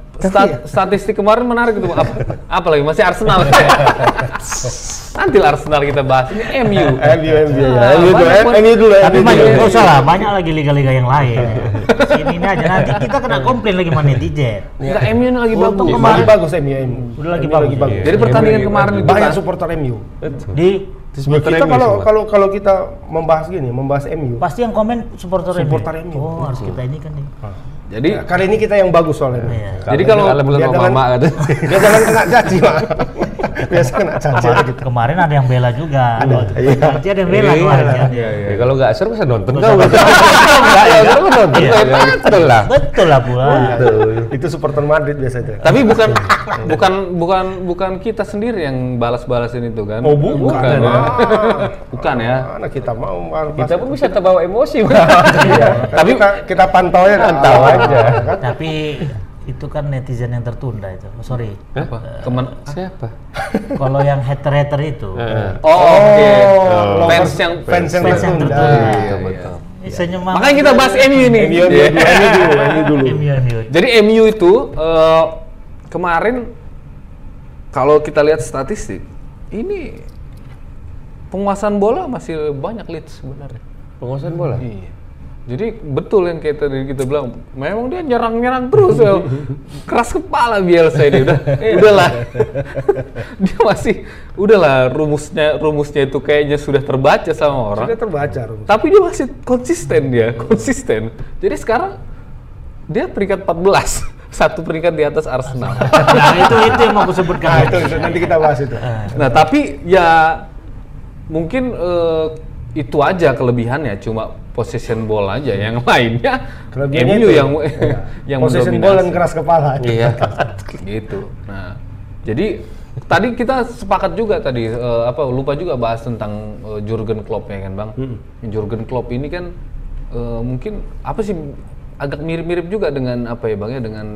A: ya.
D: Stat- statistik kemarin menarik itu apa, apa lagi masih Arsenal nanti lah Arsenal kita bahas ini MU
A: MU MU ya.
D: Ah,
A: MU dulu,
D: banyak pun-
A: MU dulu.
C: Tapi
A: MU
C: maju
A: dulu.
C: nggak usah lah, banyak lagi liga-liga yang lain. Sini ini aja nanti kita kena
A: Iya.
C: komplain lagi sama netizen.
D: Enggak, MU ini lagi bagus
A: Untung kemarin bagus MU. MU.
C: Udah lagi
A: MU
C: bagus.
D: jadi pertandingan kemarin itu
A: Banyak
D: kan
A: supporter MU.
C: Di
A: Ya, kita kalau kalau kalau kita membahas gini, membahas MU.
C: pasti yang komen supporter ini.
A: Supporter ini.
C: Oh, harus kita ini kan nih.
D: jadi
A: Ya, Kali ini kita yang bagus soalnya.
C: Iya.
D: jadi kalau
B: kalian belum
A: dia
B: sama
A: dengan-
B: mama kan.
A: Dia jangan kena caci, Pak. Biasa kena caci
C: Kemarin,
A: gitu.
C: kemarin ada yang bela juga.
A: Ada, iya.
C: Nanti ada yang bela
B: Iya.
C: kemarin kan.
B: Ya, kalau nggak seru bisa nonton
C: Nggak
B: kau.
C: usah.
B: Nggak ya seru nonton.
C: Iya.
B: kau. Ya, Betul lah.
C: Betul lah pula.
A: Iya, Itu supporter Madrid biasanya.
D: tapi bukan bukan bukan bukan kita sendiri yang balas-balasin itu kan
A: Oh, bukan.
D: ya.
A: Ah.
D: bukan ya
A: Mana kita mau bahas-
B: Kita pun bisa terbawa emosi. Bang.
A: Iya, tapi kita, kita pantau ya pantau aja
C: Tapi itu kan netizen yang tertunda itu. Oh, Sorry.
D: apa teman
B: Iya,
D: siapa
C: Kalau yang hater-hater itu,
A: Iya,
D: oh, oke
A: lovers-
D: fans yang
A: Oh, fans yang
C: fans yang
A: tertunda.
C: tertunda.
A: Iya,
D: betul.
C: ini senyuman.
D: makanya kita bahas MU nih
A: MU MU dulu, MU dulu, MU dulu.
C: MU, MU.
D: Iya. Jadi MU itu eh, kemarin kalau kita lihat statistik, ini penguasaan bola masih banyak Leeds sebenarnya.
B: Penguasaan bola.
D: Iya. Jadi betul yang kita tadi kita bilang, memang dia nyerang-nyerang terus, ya. keras kepala Bielsa ini udah, udahlah, dia masih, udahlah rumusnya rumusnya itu kayaknya sudah terbaca sama orang
A: Sudah terbaca Rum.
D: tapi dia masih konsisten dia konsisten jadi sekarang dia peringkat 14 satu peringkat di atas Arsenal
C: Nah, itu itu yang mau
A: Nah,
C: aku sebutkan.
A: itu, itu nanti kita bahas itu.
D: nah tapi ya mungkin eh, itu aja kelebihannya cuma possession bola aja yang lainnya
A: Kelebihannya
D: MU
A: itu.
D: yang
A: Iya.
D: yang
A: Possession ball dan keras kepala.
B: Iya.
D: gitu nah jadi tadi kita sepakat juga tadi eh, apa lupa juga bahas tentang eh, Jurgen Klopp ya kan bang
A: Hmm.
D: Jurgen Klopp ini kan eh, mungkin apa sih agak mirip-mirip juga dengan apa ya bang ya dengan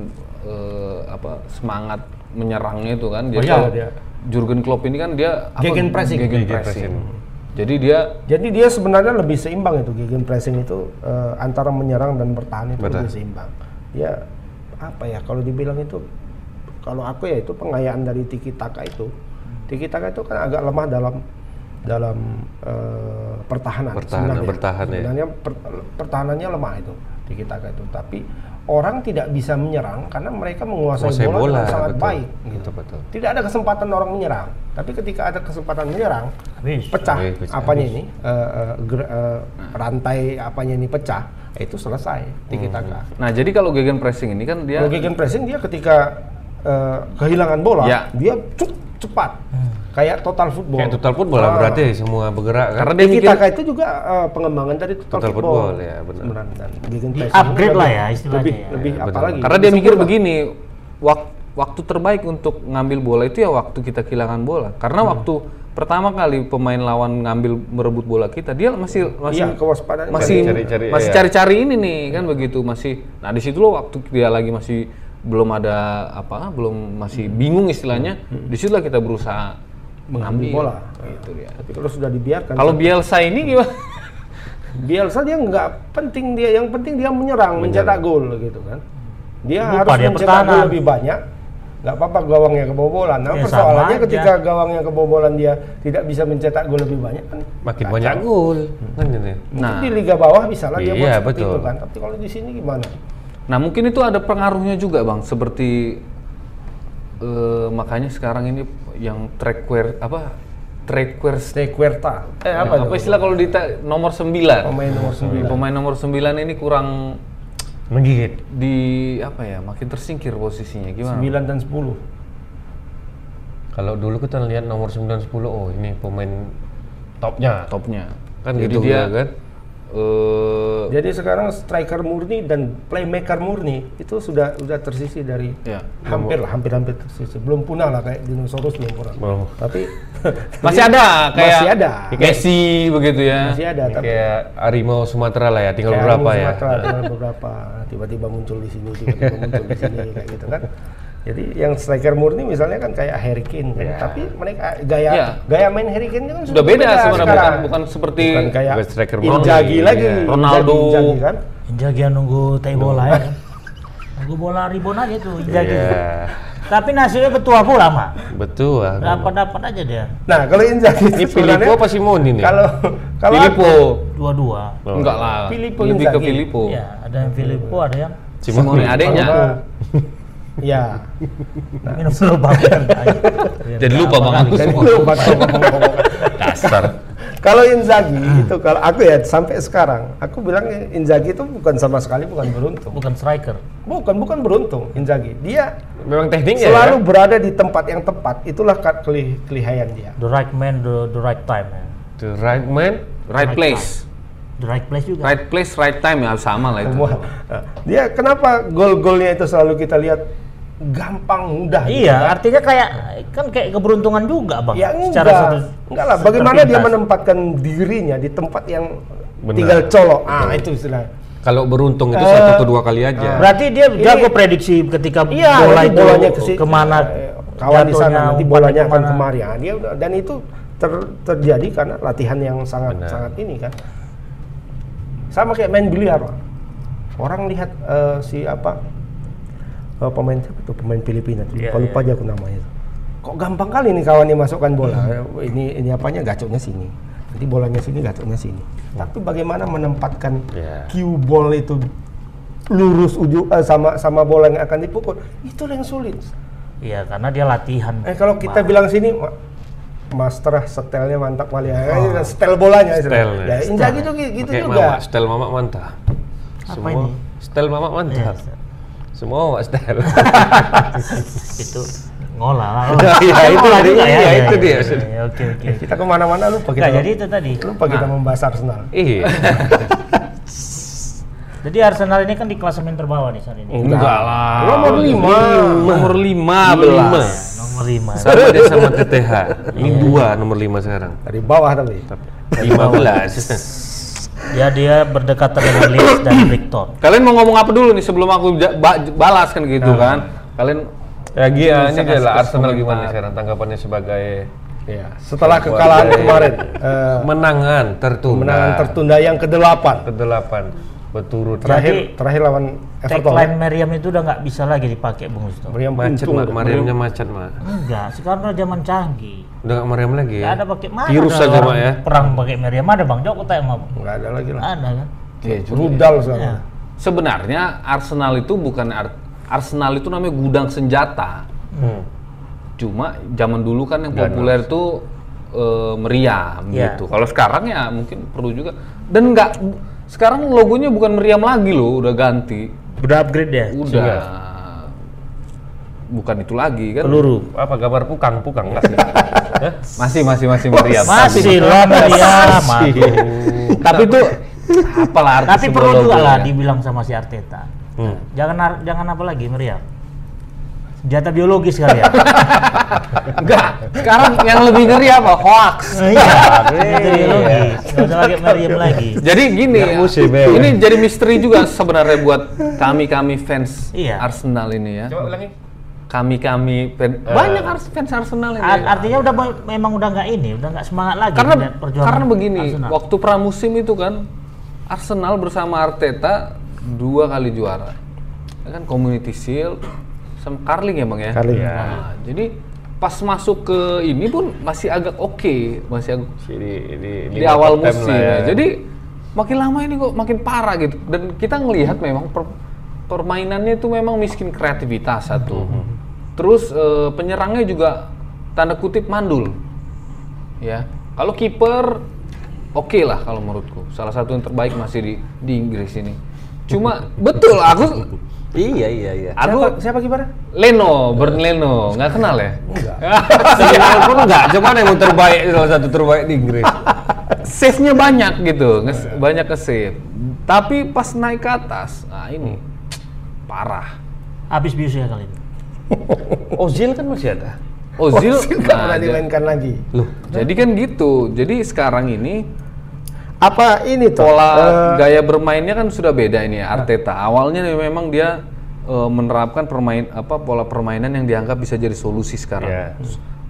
D: eh, apa semangat menyerangnya itu kan
A: Oh, iya,
D: kalau
A: dia.
D: Jurgen Klopp ini kan dia apa,
A: Gegenpressing.
D: gegenpressing. jadi dia
A: Jadi dia sebenarnya lebih seimbang itu gegen pressing itu eh, antara menyerang dan bertahan itu lebih seimbang. Ya apa ya kalau dibilang itu kalau aku ya itu pengayaan dari Tiki Taka itu. Tiki Taka itu kan agak lemah dalam dalam eh, pertahanan.
B: Pertahanan,
A: sebenarnya.
B: bertahan ya.
A: Sebenarnya per- pertahanannya lemah itu Tiki Taka itu. Tapi orang tidak bisa menyerang karena mereka menguasai
B: Menguasai
A: bola,
B: bola,
A: dengan sangat
B: betul.
A: baik. Gitu.
B: betul.
A: Tidak ada kesempatan orang menyerang. Tapi ketika ada kesempatan menyerang,
C: Habis.
A: pecah
B: Oke, pecah.
A: apanya ini eh, eh, ger- eh, rantai apanya ini pecah itu selesai tiki taka
B: Hmm.
D: nah jadi kalau gegenpressing ini kan dia
A: kalau gegen pressing dia ketika eh, kehilangan bola
D: Ya.
A: dia cuk, cepat
C: Hmm.
A: kayak total football
B: Kayak total pun bola
A: Ah.
B: berarti semua bergerak kan.
D: karena dia
A: tiki
D: mikir
A: taka itu juga eh, pengembangan dari total,
B: Total
A: football,
B: football, ya, benar.
A: sebenarnya dan gegen
C: Di
A: pressing
C: upgrade
A: lebih-
C: lah ya istilahnya
A: lebih
C: ya.
A: lebih apa lagi
D: Karena dia mikir begini, wak- waktu terbaik untuk ngambil bola itu ya waktu kita kehilangan bola. Karena waktu pertama kali pemain lawan ngambil merebut bola kita, dia masih
A: Iya,
D: masih
A: kewaspadaan
D: masih
B: cari-cari,
D: masih
B: iya.
D: cari-cari ini nih kan begitu masih. Nah di situ loh waktu dia lagi masih belum ada apa, belum masih bingung istilahnya. Di situlah kita berusaha
A: mengambil bola
D: mengambil Itu dia.
A: tapi kalau sudah dibiarkan
D: Kalau Bielsa ini gimana?
A: Bielsa dia nggak penting dia yang penting dia menyerang, mencetak gol gitu kan dia
C: Lupa
A: harus
C: dia
A: mencetak gol
C: pertahanan.
A: lebih banyak nggak apa-apa gawangnya kebobolan nah
C: Ya,
A: persoalannya
C: sama aja.
A: ketika gawangnya kebobolan dia tidak bisa mencetak gol lebih banyak kan
B: Makin banyak gol. Kan gitu.
A: Mungkin
D: Nah.
A: di liga bawah bisa lah dia
B: Iya,
A: buat seperti
B: betul.
A: itu kan tapi kalau di sini gimana
D: Nah mungkin itu ada pengaruhnya juga bang, seperti eh, makanya sekarang ini yang track wear- apa track wear st-
A: Sequerta
D: eh, apa, apa istilah kalau di ta- nomor 9
A: pemain nomor 9
D: pemain nomor 9 ini kurang
B: Menggigit.
D: di apa ya makin tersingkir posisinya gimana?
A: 9 dan 10
B: Kalau dulu kita lihat nomor 9 10 oh ini pemain topnya.
D: Nah, Topnya
B: Kan
D: Jadi
B: gitu ya
D: dia
B: kan.
D: eh,
A: jadi sekarang striker murni dan playmaker murni itu sudah sudah tersisi dari
D: ya.
A: hampir lah hampir hampir tersisi belum punah lah kayak dinosaurus belum punah
B: Belum.
A: tapi
D: masih ada kayak
A: Masih ada.
D: Messi begitu ya.
A: masih ada tapi
B: Kayak Harimau Sumatera lah ya, tinggal
A: Kayak
B: berapa
A: Harimau
B: ya.
A: Sumatera, tinggal beberapa tiba-tiba muncul di sini tiba-tiba muncul di sini kayak gitu kan jadi yang striker murni misalnya kan kayak Harry Kane kan?
B: Ya.
A: tapi mereka gaya
D: Ya.
A: gaya main Harry Kane kan
D: Sudah beda sebenarnya bukan
A: sekarang.
D: bukan seperti
A: Bukan kayak
B: Bukan striker murni,
A: Injagi lagi
B: iya.
A: Inzaghi-
D: Ronaldo.
A: Inzaghi kan
C: Jagian nunggu tai bola ya. kan? Gue bola ribon aja tuh,
B: Iya,
C: jadi. Tapi nasibnya ketua bola mah.
B: betul. aku.
C: Dapat-dapat aja dia.
A: Nah, kalau Inzaghi itu
B: Ini Filippo
A: sebenarnya-
B: apa Simone ini?
A: Kalau kalau
D: Filippo.
C: Dua-dua.
B: Oh.
D: Enggak lah.
A: Filippo
D: Lebih ke
A: Inzaghi.
D: Filippo. Iya.
C: Ya, ada yang Filippo, ada yang
D: Simone adeknya.
A: Kalau- ya. Nah.
C: minum Iya. dulu Bang.
D: Jadi lupa Bang Agus.
A: Jadi lupa kalau ngomong-ngomong.
D: Dasar.
A: Kalau Inzaghi
C: Hmm.
A: itu kalau aku ya sampai sekarang aku bilang Inzaghi itu bukan sama sekali bukan beruntung.
C: Bukan striker.
A: Bukan bukan beruntung Inzaghi. Dia
B: Memang
C: Iya
B: tekniknya
A: selalu
B: ya.
A: berada di tempat yang tepat. Itulah ka- keli- kelihaian dia.
C: The right man, the, the right time. ya.
B: The right man.
D: Right place.
C: The right place juga.
D: Right place, right time ya sama lah itu.
A: Semua. Nah, Dia kenapa gol-golnya itu selalu kita lihat gampang mudah. gitu
C: Iya,
A: kan?
C: artinya kayak kan kayak keberuntungan juga, Bang.
A: Ya enggak.
C: Secara satu
A: enggak lah. Bagaimana dia menempatkan dirinya di tempat yang
B: Benar.
A: tinggal colok. Ah, itu istilahnya.
B: Kalau beruntung itu
A: Eh,
B: satu atau dua kali aja.
C: Berarti dia
A: Ini-
C: jago prediksi ketika
A: Iya,
C: bola
A: nanti
C: itu
A: ke situ.
C: kemana
A: Eh, kawan di sana
C: jatuhnya,
A: nanti
C: umpannya
A: bolanya akan
C: kemana.
A: kemari. Ah, dia udah- dan itu ter- terjadi karena latihan yang sangat
B: Benar.
A: sangat ini kan. Sama kayak main biliar. Pak. Orang lihat eh, si apa eh, pemain siapa tuh pemain Filipina tuh. Lupa,
C: Iya,
A: lupa aja aku namanya. tuh. Kok gampang kali nih kawan ini masukkan bola. Eh, Ini ini apanya gacoknya sini. Nanti bolanya sini gacoknya sini. Tapi bagaimana menempatkan
B: Iya.
A: cue ball itu lurus uju eh, sama sama bola yang akan dipukul itulah yang sulit
C: Iya, karena dia latihan.
A: eh kalau kita bilang sini "Ma- master ah, setelnya mantap kali ya Eh, setel bolanya
B: Setelnya.
A: ya Inzaghi tuh gitu, gitu
B: Pakai
A: juga
B: mamak, stel mamak mantap. Semua
C: ini?
B: stel mamak
C: Iya,
B: mantap. Semua mamak Iya, stel.
C: itu ngolah lah.
B: Iya, itu
C: Ngolah
B: dia,
C: juga
B: iya,
C: Iya,
B: itu
C: iya,
B: dia.
C: iya, iya, Oke, oke. oke.
A: kita kemana-mana lupa
C: Nggak,
A: kita
C: jadi itu tadi.
A: lupa kita membahas Arsenal
B: Iya.
C: Jadi Arsenal ini kan di klasemen terbawah nih saat ini.
A: Nah,
D: Enggak lah.
A: Nomor lima.
D: Ah, Nomor
B: Lima.
D: 15.
C: Iya, Nomor 5.
B: Sama dia sama TTH. Ini dua nomor lima sekarang.
A: dari bawah tapi
B: 15.
C: Ya dia berdekatan dengan Leeds dan Brighton.
D: Kalian mau ngomong apa dulu nih sebelum aku ja- ba- balas kan gitu
C: Nah.
D: kan? Kalian
B: ya Gia, ini
D: Bisa
B: adalah
D: kasih
B: Arsenal gimana
D: komentar.
B: sekarang tanggapannya sebagai
A: ya setelah kekalahan
B: Sebagai
A: kemarin
B: Nah.
A: eh,
B: menangan tertunda.
A: kemenangan tertunda yang ke-8
B: kedelapan berturut
A: terakhir
C: Jadi,
A: terakhir lawan Everton
C: Tagline Meriam itu udah nggak bisa lagi dipakai Bung Gusto.
A: Meriam
B: macet
A: Ya, untung.
B: mak Mariamnya macet mak
C: Enggak, sekarang udah zaman canggih.
B: udah gak Mariam lagi
C: Nggak
B: ya
C: ada pakai mana?
B: virus
C: ada
B: aja
C: orang
B: mak ya
C: Perang pakai meriam ada Bang Joko tanya sama Bang.
A: nggak ada lagi lah
C: Ada kan?
D: ya,
A: rudal sekarang
D: Iya. sebenarnya Arsenal itu bukan ar- Arsenal itu namanya gudang senjata.
C: Hmm.
D: Cuma zaman dulu kan yang populer tuh eh, meriam
C: Iya.
D: gitu. Kalau sekarang ya mungkin perlu juga. Dan nggak sekarang logonya bukan meriam lagi loh, udah ganti.
C: Udah upgrade ya.
D: Udah bukan itu lagi kan.
C: Peluru.
B: apa gambar pukang pukang nggak
D: Masih masih masih meriam.
C: Masih lah meriam. aduh.
D: Tapi itu apalah arti
C: Tapi
D: sebuah
C: perlu juga
D: logo
C: lah
D: ya.
C: dibilang sama si Arteta.
B: Hmm.
C: Jangan ar- jangan apa lagi meriam. Senjata biologis kali ya.
D: Enggak, sekarang yang lebih ngeri apa? Hoax.
C: Iya, senjata biologis. Enggak usah pakai meriam lagi.
D: Jadi gini, ya,
B: musim, ya.
D: ini jadi misteri juga sebenarnya buat kami-kami fans
C: Iya.
D: Arsenal ini ya. Kami-kami fan- banyak ars- fans Arsenal ini.
C: Ar- artinya udah ba- memang udah nggak ini, udah nggak semangat lagi
D: karena
C: melihat perjuangan
D: karena begini,
C: Arsenal.
D: waktu pramusim itu kan Arsenal bersama Arteta dua kali juara. Ya Kan Community Shield sama Carling ya Bang ya.
A: Carling.
D: Nah, jadi pas masuk ke ini pun masih agak oke, masih agak
B: di, di,
D: di awal musim.
B: ya.
D: ya. Jadi makin lama ini kok makin parah gitu. Dan kita ngelihat memang per- permainannya itu memang miskin kreativitas satu. Terus eh, penyerangnya juga tanda kutip mandul. Ya. Kalau kiper oke lah kalau menurutku. Salah satu yang terbaik masih di di Inggris ini. Cuma betul aku
B: iya iya iya
D: aku
A: siapa gimana
D: Leno, Bern Leno, nggak kenal ya?
B: pun enggak cuman yang terbaik salah satu terbaik di Inggris
D: save-nya banyak gitu, nge- banyak ke save. Tapi pas naik ke atas, nah ini parah.
C: habis biusnya kali ini.
B: Ozil kan masih ada
D: Ozil,
A: nggak
D: nah,
A: pernah
D: ja-
A: dimainkan lagi
B: loh
D: jadi kan gitu. Jadi sekarang ini
A: apa ini tuh
D: pola
A: eh, Nah.
D: gaya bermainnya kan sudah beda ini ya, Arteta. Awalnya memang dia eh, menerapkan permain apa pola permainan yang dianggap bisa jadi solusi
B: Iya.
D: sekarang.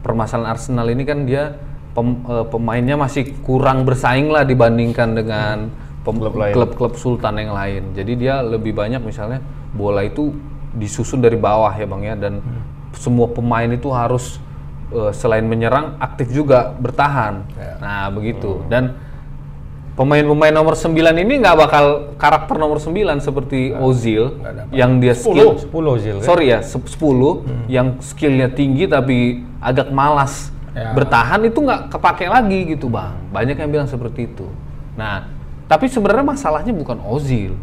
D: Permasalahan Arsenal ini kan dia pem- eh, pemainnya masih kurang bersaing lah dibandingkan dengan pem-
B: Klub lain.
D: klub-klub sultan yang lain. Jadi dia lebih banyak misalnya bola itu disusun dari bawah ya bang ya dan
B: Hmm.
D: semua pemain itu harus eh, selain menyerang aktif juga bertahan.
B: Ya.
D: Nah begitu
B: Hmm.
D: dan pemain-pemain nomor 9 ini nggak bakal karakter nomor 9 seperti Ozil yang dia skill
B: 10 Ozil kan?
D: sorry ya se- 10 yang skillnya tinggi tapi agak malas bertahan itu nggak kepake lagi gitu bang banyak yang bilang seperti itu nah tapi sebenarnya masalahnya bukan Ozil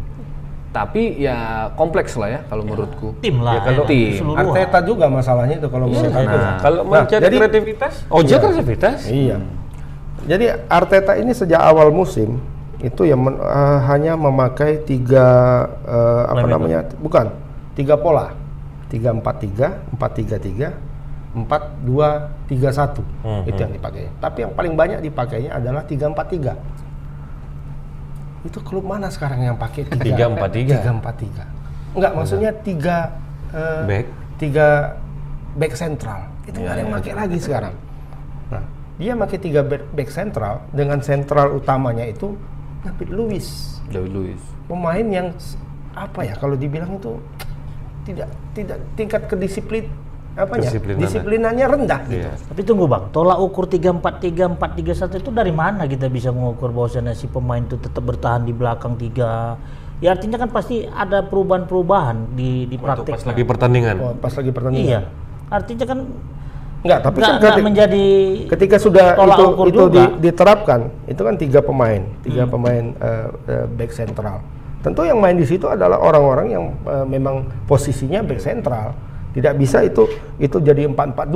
D: tapi ya kompleks lah ya kalau menurutku
C: tim
B: Ya,
C: lah
B: kalau
C: ya,
D: tim.
C: keseluruhan.
A: Arteta juga masalahnya itu kalau menurut aku.
B: Nah, kalau
A: Nah,
B: mencari
A: jadi-
B: kreativitas, Ojek kreativitas.
A: Iya. Jadi Arteta ini sejak awal musim itu yang men- eh, hanya memakai tiga eh, apa namanya? Bukan tiga pola, tiga empat tiga, empat tiga tiga, empat dua tiga satu itu yang dipakai. Tapi yang paling banyak dipakainya adalah tiga empat tiga. Itu klub mana sekarang yang pakai tiga
B: 3-4-3?
A: Tiga empat tiga. Enggak, maksudnya tiga eh,
B: Back.
A: tiga back sentral itu nggak ada yang pakai lagi sekarang nah dia pakai tiga back, back sentral dengan sentral utamanya itu David Luiz
D: David Luiz
A: pemain yang s- apa ya kalau dibilang itu tidak tidak tingkat kedisiplin apanya
B: Kedisiplinannya.
A: disiplinannya rendah gitu
B: Iya.
C: Tapi tunggu bang, tolak ukur 3-4-3, 4-3-1 itu dari mana kita bisa mengukur bahwasannya si pemain itu tetap bertahan di belakang tiga? Ya artinya kan pasti ada perubahan-perubahan di di praktik.
B: Pas lagi pertandingan.
A: Oh, pas lagi pertandingan
C: Iya, artinya kan
A: enggak tapi
C: nggak
A: kan
C: nggak
A: keti-
C: menjadi
A: ketika sudah
C: tolak
A: itu
C: ukur
A: itu di-
C: juga. Hmm.
A: diterapkan itu kan tiga pemain tiga pemain eh, eh, back sentral tentu yang main di situ adalah orang-orang yang eh, memang posisinya back sentral tidak bisa itu itu jadi 4-4-2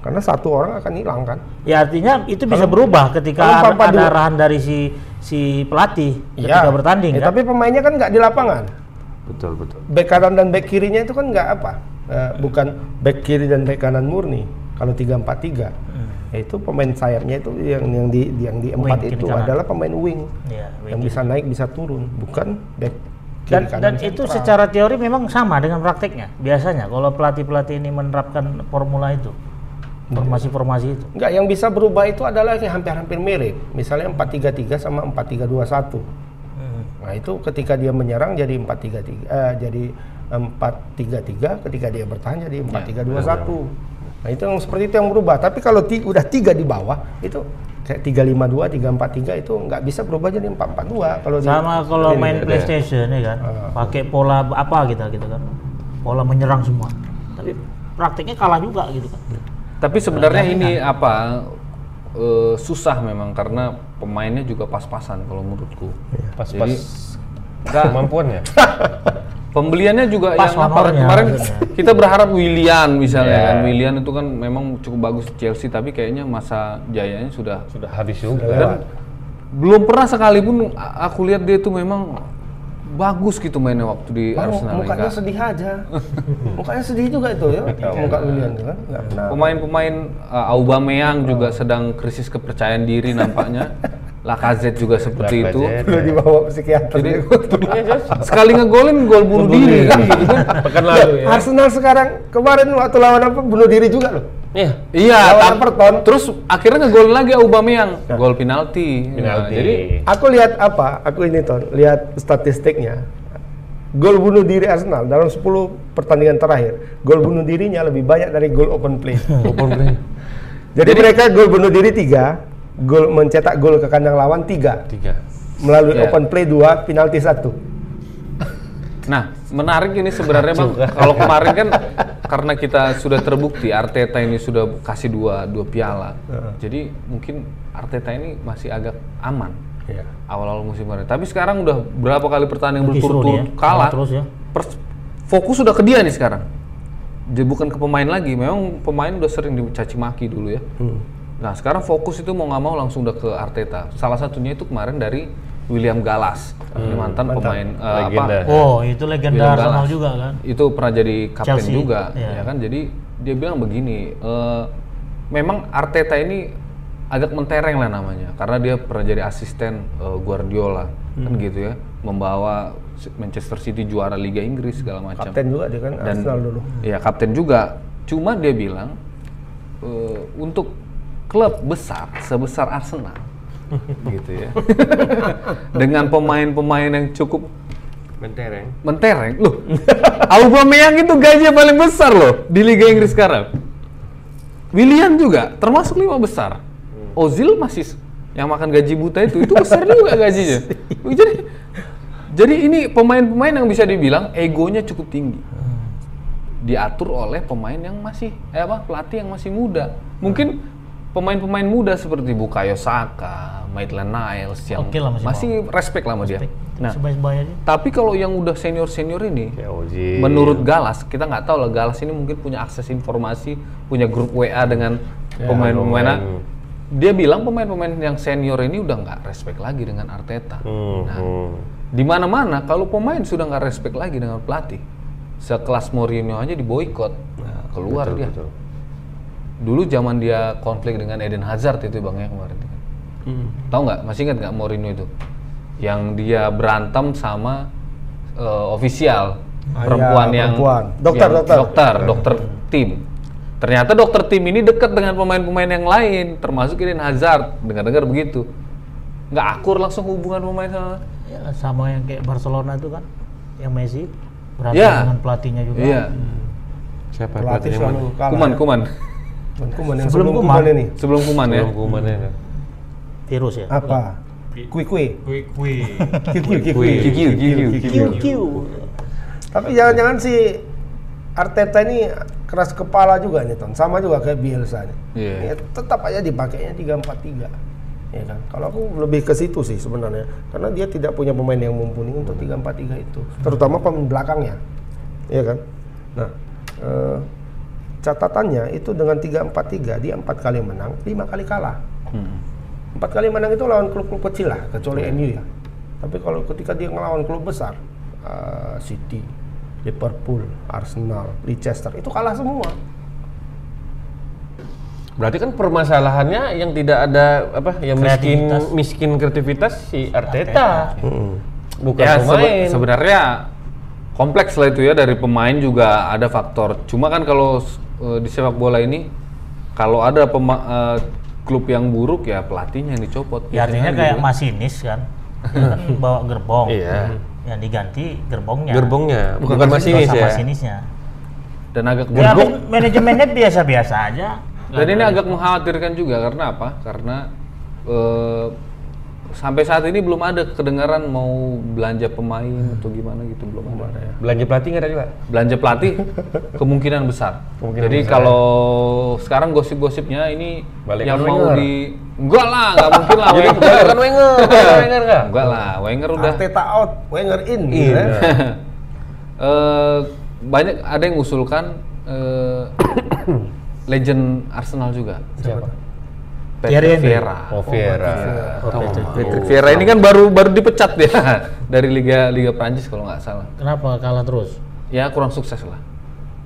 A: karena satu orang akan hilang kan
C: Ya artinya itu bisa berubah ketika
A: kalau
C: ar-
A: empat-empat
C: ada
A: dua.
C: arahan dari si si pelatih
A: Iya.
C: ketika bertanding
A: Eh,
C: kan.
A: tapi pemainnya kan nggak di lapangan
B: Betul, betul.
A: back kanan dan back kirinya itu kan nggak apa eh, bukan back kiri dan back kanan murni kalau 3-4-3 itu pemain sayapnya itu yang yang di yang di empat
C: Hmm. kiri
A: itu
C: kanan.
A: adalah pemain wing
C: Iya,
A: yang bisa naik bisa turun bukan back
C: dan,
A: kiri kanan
C: dan itu
A: sentral.
C: secara teori memang sama dengan prakteknya biasanya kalau pelatih-pelatih ini menerapkan formula itu formasi-formasi itu
A: enggak yang bisa berubah itu adalah yang hampir-hampir mirip misalnya 4-3-3 sama 4-3-2-1 nah itu ketika dia menyerang jadi 4-3-3 eh, jadi 4-3-3 ketika dia bertahan jadi 4-3-2-1 nah itu yang seperti itu yang berubah tapi kalau ti- udah tiga di bawah itu kayak 3-5-2 3-4-3 itu nggak bisa berubah jadi 4-4-2 kalau di-
C: sama kalau
A: ini. Ah.
C: main PlayStation ya kan pakai pola apa kita gitu kan pola menyerang semua
A: Iya.
C: tapi prakteknya kalah juga gitu kan
D: Tapi sebenarnya
B: Nah,
D: ini apa eh, susah memang karena pemainnya juga pas-pasan kalau menurutku.
B: Pas-pas
D: Jadi nggak-
B: kemampuannya.
D: pembeliannya juga
C: Pas
D: yang apa
C: nomornya.
D: kemarin kita berharap Willian misalnya kan Willian itu kan memang cukup bagus di Chelsea tapi kayaknya masa jayanya sudah
B: Sudah habis juga.
D: dan belum pernah sekalipun a- aku lihat dia itu memang bagus gitu mainnya waktu di
A: Baru
D: Arsenal ya,
A: Oh, mukanya
D: Kak.
A: sedih aja. mukanya sedih juga itu ya. Muka William itu kan. Nggak pernah.
D: Pemain-pemain uh, Aubameyang juga sedang krisis kepercayaan diri nampaknya. Lacazette juga seperti itu.
B: Lacazette.
A: Udah dibawa psikiater.
D: Iya. Jadi
A: dia.
D: sekali ngegolin gol bunuh diri kan.
B: Pekan lalu ya.
A: Arsenal sekarang kemarin waktu lawan apa bunuh diri juga loh.
B: Iya.
D: Iya,
A: Lawan
D: tam-
A: Everton.
D: terus akhirnya ngegolin lagi Aubameyang. Gol penalti. Nah,
B: Penalti.
D: jadi
A: Aku lihat apa? Aku ini ton, lihat statistiknya. Gol bunuh diri Arsenal dalam 10 pertandingan terakhir, gol bunuh dirinya lebih banyak dari gol open play.
B: Walaupun ini
A: Jadi, mereka gol bunuh diri 3, gol mencetak gol ke kandang lawan 3,
B: tiga.
A: melalui
D: Iya.
A: open play 2, penalti 1.
D: nah, menarik ini sebenarnya Bang. Kalau kemarin kan karena kita sudah terbukti Arteta ini sudah kasih dua dua piala. Jadi mungkin Arteta ini masih agak aman. awal-awal musim kemarin. Tapi sekarang udah berapa kali pertandingan
C: Kisru dia,
D: berturut-turut kalah.
C: terus ya
D: Pers- fokus sudah ke dia nih sekarang. Jadi bukan ke pemain lagi. Memang pemain udah sering dicaci maki dulu ya. Nah sekarang fokus itu mau nggak mau langsung udah ke Arteta. Salah satunya itu kemarin dari William Galas, mantan pemain eh,
B: Legenda.
A: Iya.
D: apa?
C: oh itu legenda
D: William
C: Arsenal
D: Gallas.
C: juga kan
D: Itu pernah jadi kapten
C: Chelsea,
D: juga,
C: iya.
D: ya kan? Jadi dia bilang begini, eh, memang Arteta ini agak mentereng lah namanya, karena dia pernah jadi asisten eh, Guardiola, kan
A: Hmm.
D: gitu ya, membawa Manchester City juara Liga Inggris segala macam.
A: Kapten juga dia kan Arsenal dulu.
D: Iya kapten juga. Cuma dia bilang eh, untuk klub besar sebesar Arsenal, gitu ya, dengan pemain-pemain yang cukup
B: Mentereng.
D: Mentereng, loh. Aubameyang itu gajinya paling besar loh di Liga Inggris sekarang. William juga termasuk lima besar. Ozil masih s- yang makan gaji buta itu itu besar juga gajinya. Jadi jadi ini pemain-pemain yang bisa dibilang egonya cukup tinggi. Diatur oleh pemain yang masih eh apa pelatih yang masih muda. Mungkin pemain-pemain muda seperti Bukayo Saka, Maitland Niles yang
C: Oke lah, masih
D: masih, respect lah sama dia. Nah,
C: Sebaya-sebaya aja.
D: tapi kalau yang udah senior-senior ini,
B: Ya Oji.
D: menurut Galas, kita nggak tahu lah Galas ini mungkin punya akses informasi, punya grup WA dengan
B: Iya,
D: pemain-pemain.
B: lumayan.
D: Dia bilang pemain-pemain yang senior ini udah nggak respect lagi dengan Arteta.
B: Hmm,
D: Nah,
B: hmm.
D: di mana-mana kalau pemain sudah nggak respect lagi dengan pelatih, sekelas Mourinho aja diboikot, nah, keluar dia.
B: betul.
D: Dulu zaman dia konflik dengan Eden Hazard itu bang ya kemarin. Tahu nggak? Masih ingat nggak Mourinho itu? Yang dia berantem sama eh, ofisial
A: Ah,
D: perempuan
A: iya,
D: yang
A: perempuan. Dokter,
D: yang-
A: dokter.
D: dokter, dokter tim. Ternyata dokter tim ini dekat dengan pemain-pemain yang lain, termasuk Eden Hazard. Dengar-dengar begitu. Nggak akur langsung hubungan pemain sama.
C: Ya, sama yang kayak Barcelona itu kan, yang Messi berantem
D: Ya.
C: dengan pelatihnya juga.
D: Iya.
B: Siapa
A: Pelatih
B: pelatihnya
A: selalu
B: mana?
A: kalah.
D: Kuman, Kuman.
A: Bukan Kuman yang
C: Sebelum
A: sebelum
C: Kuman.
A: Kuman ini.
D: Sebelum Kuman ya.
B: Belum kumannya ya.
C: Virus ya.
A: Apa? Kui kui.
F: Kui kui.
A: Kiu kiu kiu
D: Kui,
A: kui.
D: Kikiu, Kikiu, Kikiu.
C: Q.
A: Tapi jangan-jangan si Arteta ini keras kepala juga nih, Ton. Sama juga kayak Bielsa nih.
D: Iya.
A: Ya, tetap aja dipakainya 343. Ya kan? Kalau aku lebih ke situ sih sebenarnya. Karena dia tidak punya pemain yang mumpuni untuk 343 itu, terutama pemain belakangnya. Iya kan? Nah, eh, catatannya itu dengan 343 dia empat kali menang, lima kali kalah. Empat kali menang itu lawan klub-klub kecil lah, kecuali MU ya. Tapi kalau ketika dia ngelawan klub besar, eh, City, Liverpool, Arsenal, Leicester, itu kalah semua.
B: Berarti kan permasalahannya yang tidak ada apa yang miskin
C: Kreativitas.
B: miskin kreativitas si Arteta. Hmm. Bukan
D: Ya, sebe-
B: pemain.
D: sebenarnya kompleks lah itu ya dari pemain juga ada faktor. Cuma kan kalau s- eh, di sepak bola ini kalau ada pema- eh, klub yang buruk ya pelatihnya yang dicopot.
C: Ya artinya
D: Biasanya
C: kayak
D: gitu.
C: masinis kan. Dia kan bawa gerbong.
B: Iya.
C: Yang diganti gerbongnya.
B: gerbongnya bukan, masinis
C: Masinis
B: ya.
C: masinisnya.
D: dan agak
C: Ya,
D: buruk.
C: men- manajemennya biasa-biasa aja.
D: Dan ini agak mengkhawatirkan juga karena apa? Karena eh, sampai saat ini belum ada kedengaran mau belanja pemain atau gimana gitu belum ada.
B: Belanja pelatih nggak ada juga.
D: belanja pelatih kemungkinan besar.
B: Kemungkinan
D: Jadi
B: besar,
D: kalau sekarang gosip-gosipnya ini
B: Balik
D: yang
B: ke
D: mau
B: Wenger.
D: di enggak lah, enggak mungkin lah
B: Jadi
D: Wenger.
B: bukan Wenger, bukan Wenger nggak?
D: Enggak lah, Wenger udah
A: Arteta out, Wenger in.
B: Iya.
A: gitu ya.
D: eh, banyak ada yang mengusulkan eh, legend Arsenal juga.
B: Siapa?
D: Patrick Vieira.
B: Oh, Vieira.
D: Patrick Vieira ini kan baru baru dipecat dia dari liga liga Prancis kalau nggak salah.
C: Kenapa kalah terus? Kan
D: Ya kurang sukses lah.